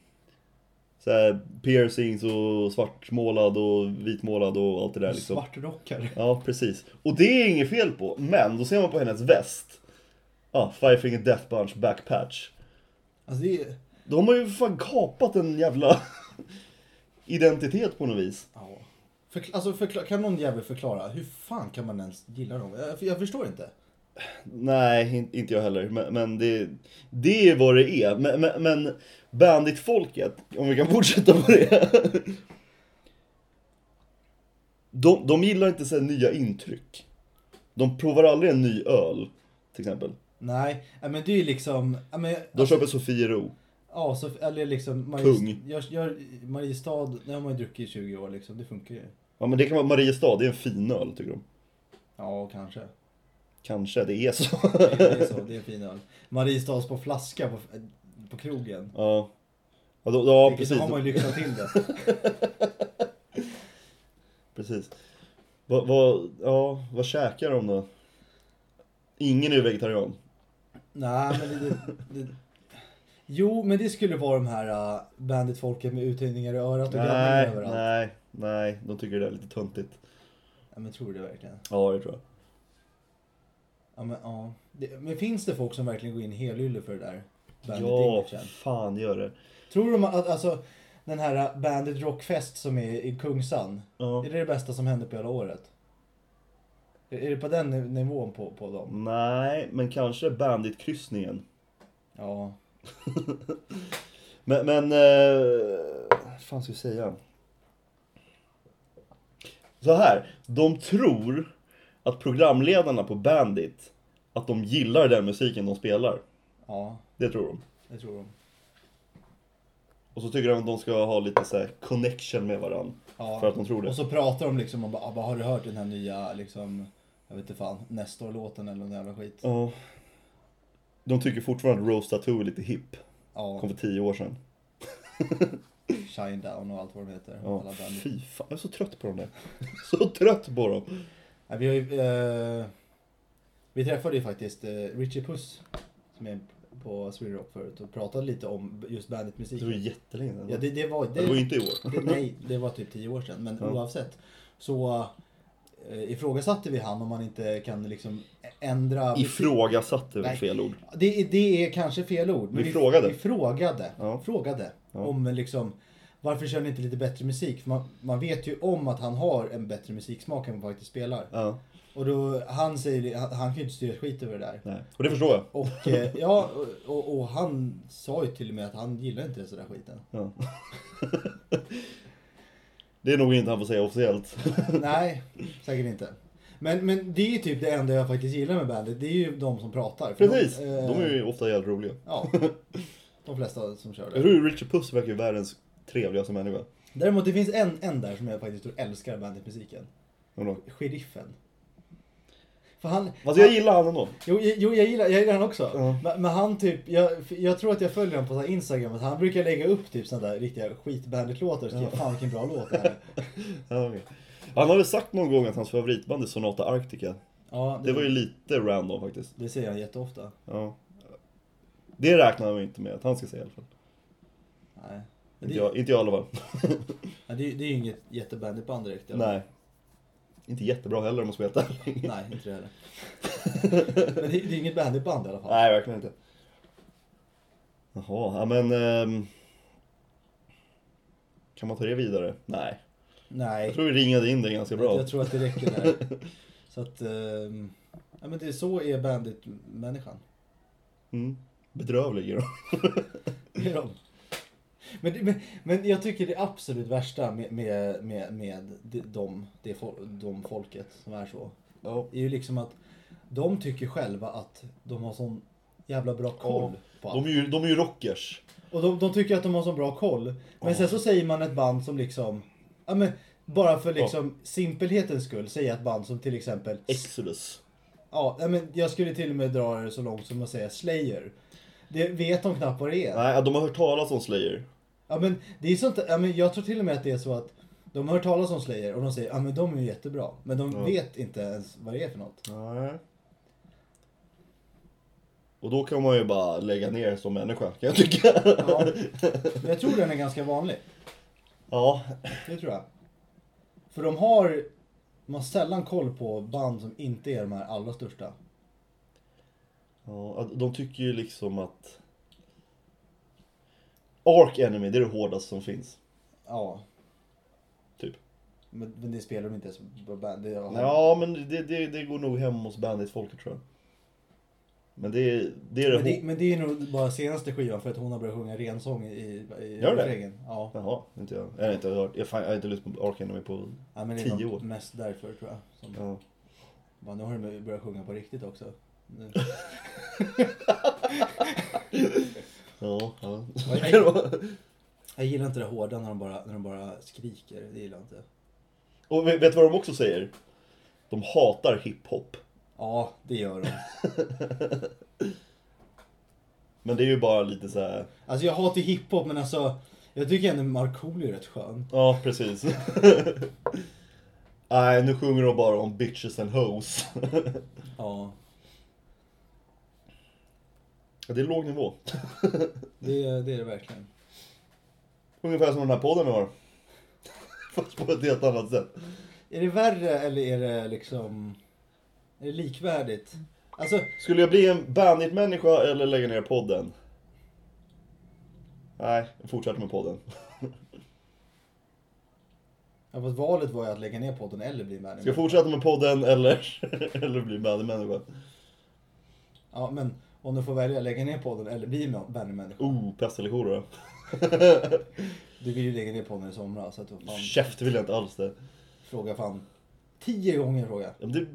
S1: Såhär piercings och svartmålad och vitmålad och allt det där liksom.
S2: Svartrockare.
S1: Ja, precis. Och det är inget fel på, men då ser man på hennes väst. Ja, Five Finger Death Punch backpatch.
S2: Alltså det är...
S1: De har ju för fan kapat en jävla identitet på något vis.
S2: Ja. Förkla- alltså förkla- kan någon jävel förklara, hur fan kan man ens gilla dem? Jag, jag förstår inte.
S1: Nej, in- inte jag heller. Men, men det, det är vad det är. Men, men, men banditfolket, om vi kan fortsätta på det. De, de gillar inte så här nya intryck. De provar aldrig en ny öl, till exempel.
S2: Nej, ja, men det är ju liksom... ja, Men,
S1: De köper Sofiero.
S2: Ja, så, eller liksom
S1: Kung.
S2: Marie, jag, jag, Mariestad, det har man ju druckit i 20 år liksom, det funkar ju.
S1: Ja, men det kan vara Mariestad, det är en fin öl, tycker de.
S2: Ja, kanske.
S1: Kanske, det är så.
S2: Det är så, det är en fin öl. Mariestads på flaska på, på krogen.
S1: Ja, ja, då, ja
S2: Vilket-
S1: precis.
S2: Då har man ju lyxat till det.
S1: Precis. Vad, vad, ja, vad käkar de då? Ingen är ju vegetarian.
S2: Nej, men det, det, det... Jo, men det skulle vara de här uh, banditfolket med uthyrningar i örat och grabbningar
S1: Nej,
S2: överallt.
S1: nej, nej. De tycker det där är lite töntigt.
S2: Ja, men tror du det verkligen?
S1: Ja, det tror jag.
S2: Ja, men, ja. Det, men finns det folk som verkligen går in helylle för det där?
S1: ja,
S2: Bandit-imagen?
S1: fan gör det.
S2: Tror de att alltså, den här uh, Bandit Rockfest som är i Kungsan,
S1: Ja.
S2: Är det det bästa som hände på hela året? Är- Är det på den niv- nivån på, på dem?
S1: Nej, men kanske Bandit-kryssningen.
S2: Ja.
S1: Men, men... Eh, fan ska jag säga? Så här, de tror att programledarna på Bandit, att de gillar den musiken de spelar.
S2: Ja,
S1: Det tror de.
S2: det tror de.
S1: Och så tycker de att de ska ha lite så här connection med varandra.
S2: Ja.
S1: För att de tror det.
S2: Och så pratar de liksom om bara, "Ah, vad har du hört den här nya liksom, jag vet inte fan, Nestor-låten eller nån jävla skit.
S1: Ja. De tycker fortfarande Rose Tattoo är lite hipp.
S2: Ja,
S1: Kom för tio år sedan.
S2: Shine Down och allt vad de heter.
S1: Ja.
S2: Alla band.
S1: Fy fan, jag är så trött på dem där. Så trött på dem.
S2: Nej, vi, har ju, eh, vi träffade ju faktiskt eh, Richie Puss som är på Sweden Rock förut och pratade lite om just bandet musik.
S1: Det var ju jättelänge sedan.
S2: Ja, det, det var,
S1: Det var ju
S2: det,
S1: inte i år.
S2: det, nej, det var typ tio år sedan, men
S1: Ja.
S2: oavsett. Så eh, ifrågasatte vi han om han inte kan liksom ändra...
S1: Ifrågasatt är väl
S2: Nej.
S1: fel ord.
S2: Det, är- det är kanske fel ord.
S1: Vi frågade.
S2: Vi frågade,
S1: Ja.
S2: frågade
S1: Ja.
S2: om liksom varför kör ni inte lite bättre musik? För man, man vet ju om att han har en bättre musiksmak än vad han faktiskt spelar.
S1: Ja,
S2: Och då, han säger han, han kan ju inte styra skit över det där.
S1: nej. Och det förstår jag.
S2: Och, eh, ja, och, och, och han sa ju till och med att han gillar inte den sådär skiten.
S1: Ja. Det är nog inte han får säga officiellt.
S2: Nej, säkert inte. Men, men det är ju typ det enda jag faktiskt gillar med bandet. Det är ju de som pratar. För
S1: Precis!
S2: De, eh,
S1: De är ju ofta jävligt roliga.
S2: Ja, de flesta som kör
S1: Jag
S2: det.
S1: tror Richard Puss verkar ju världens trevligaste människa.
S2: Däremot det finns en, en där som jag faktiskt tror älskar bandetmusiken.
S1: Ändå.
S2: Sheriffen. För han...
S1: Fast Alltså, jag gillar han ändå.
S2: Jo, jo jag, gillar, jag gillar han också.
S1: Ja.
S2: Men, men han typ, jag, jag tror att jag följer honom på så här Instagram, att han brukar lägga upp typ sådana där riktiga skitbandet-låtar och skriva fan vilken bra låt det här är."
S1: Ja, okej. Han har väl sagt någon gång att hans favoritband är Sonata Arctica.
S2: Ja,
S1: Det var ju lite random faktiskt.
S2: det säger han jätteofta.
S1: Ja. Det räknar han ju inte med att han ska säga i alla fall.
S2: Nej. Men
S1: Inte
S2: det, ja,
S1: jag, inte jag i alla fall.
S2: det, är ju- det är ju inget jättebandytband direkt. eller?
S1: Nej. Inte jättebra heller om man ska veta.
S2: Nej, inte det heller. men det, det är inget bandytband i alla fall.
S1: Nej, verkligen inte. Jaha, ja men... ehm, Kan man ta det vidare? Nej. Jag
S2: Nej,
S1: tror vi ringade in det ganska bra.
S2: jag tror att det räcker där. Så att, ehm, ja men det är så är bandit-människan.
S1: Mm. Bedrövlig är de.
S2: Det är de. Men, det- men, men jag tycker det absolut värsta med, med, med, med de, de, det fol- de folket som är så,
S1: Ja.
S2: är ju liksom att de tycker själva att de har sån jävla bra koll på allt.
S1: De, är ju, de är ju rockers.
S2: Och de, de tycker att de har så bra koll. Men
S1: Ja.
S2: sen så säger man ett band som liksom, ja men bara för liksom simpelhetens skull, säga ett band som till exempel,
S1: Exodus.
S2: ja nej, men jag skulle till och med dra det så långt som att säga Slayer. Det vet de knappt vad det är.
S1: Nej, de har hört talas om Slayer.
S2: Ja men det är sånt, ja, men jag tror till och med att det är så att de har hört talas om Slayer och de säger ja men de är ju jättebra. Men de
S1: Ja.
S2: vet inte ens vad det är för något.
S1: Nej. Och då kan man ju bara lägga ner som människa, kan jag tycka.
S2: Ja. Men jag tror den är ganska vanlig.
S1: Ja,
S2: Det tror jag. För de har, de har sällan koll på band som inte är de här allra största.
S1: Ja, att de tycker ju liksom att... Ark Enemy, det är det hårdaste som finns.
S2: Ja.
S1: Typ.
S2: Men, men det spelar de inte ens på band. Det är,
S1: Ja, men det, det, det går nog hem hos bandit-folket tror jag. Men det, är- det är det,
S2: Men, det,
S1: det...
S2: men det är nog bara senaste skivan för att hon har börjat sjunga rensång i, i
S1: Gör det?
S2: refrängen. Ja.
S1: Jaha, inte jag. Jag har inte hört. Jag, fan, jag har inte lyssnat på Ark Enemy på...
S2: ja men det
S1: Tio
S2: är
S1: år.
S2: nog mest därför tror jag. Som,
S1: Ja.
S2: Bara, nu har de börjat sjunga på riktigt också. Nu.
S1: Ja, ja.
S2: Vad är det? Jag gillar inte det hårda när de bara, när de bara skriker. Det gillar jag inte.
S1: Och vet vet du vad de också säger? De hatar hiphop.
S2: Ja, det gör de.
S1: Men det är ju bara lite så här.
S2: Alltså jag hatar hiphop men alltså jag tycker ändå Markoolio är rätt skön.
S1: Ja, precis. Nej, nu sjunger de bara om bitches and hoes.
S2: Ja,
S1: Ja, det är låg nivå.
S2: det, det är det verkligen.
S1: Ungefär som den här podden vi har. Fast på ett helt annat sätt.
S2: Är det värre eller är det liksom... Är det likvärdigt? Alltså,
S1: Skulle jag bli en bandit-människa eller lägga ner podden? Nej, jag fortsätter med podden.
S2: ja, fast valet var ju att lägga ner podden eller bli
S1: Ska jag
S2: manager.
S1: fortsätta med podden eller, eller bli bandit-människa?
S2: Ja, men om du får välja lägga ner podden eller bli manager.
S1: Oh, pest eller kolera?
S2: Du vill ju lägga ner podden i somras så att du fan,
S1: Käft vill jag inte alls det.
S2: fråga fan tio gånger fråga.
S1: Ja, men det,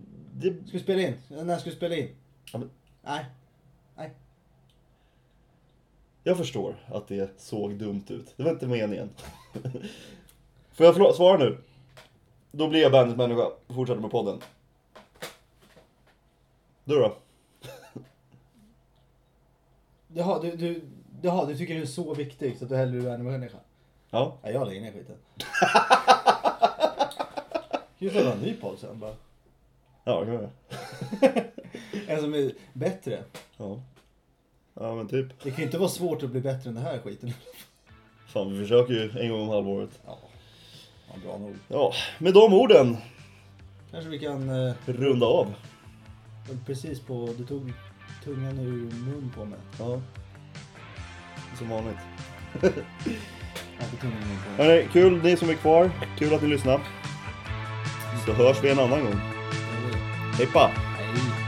S1: det
S2: Ska vi spela in? När ska vi spela in?
S1: Ja, men-
S2: Nej.
S1: Jag förstår att det såg dumt ut. Det var inte meningen. Får jag förlå- svara nu? Då blir jag bandit människa. Fortsätter med podden. Du då?
S2: Jaha, du, du, jaha, du tycker du är så viktig så att du hellre är animemänniska?
S1: Ja.
S2: Ja, jag lägger ner skiten. Gud, det var en ny podd sen bara.
S1: Ja, det kan jag göra.
S2: En som är bättre.
S1: Ja. Ja men typ.
S2: Det kan ju inte vara svårt att bli bättre än den här skiten.
S1: Fan vi försöker ju en gång om halvåret.
S2: Ja, ja bra nog.
S1: Ja, med de orden
S2: Kanske vi kan... Eh,
S1: runda av.
S2: precis på... Du tog tungan ur mun på mig.
S1: Ja. Som vanligt.
S2: Ja, inte tungan ur mun på mig.
S1: Hörrni, kul ni som är kvar. Kul att ni lyssnar. Så hörs vi en annan gång. Hej pa!
S2: Nej.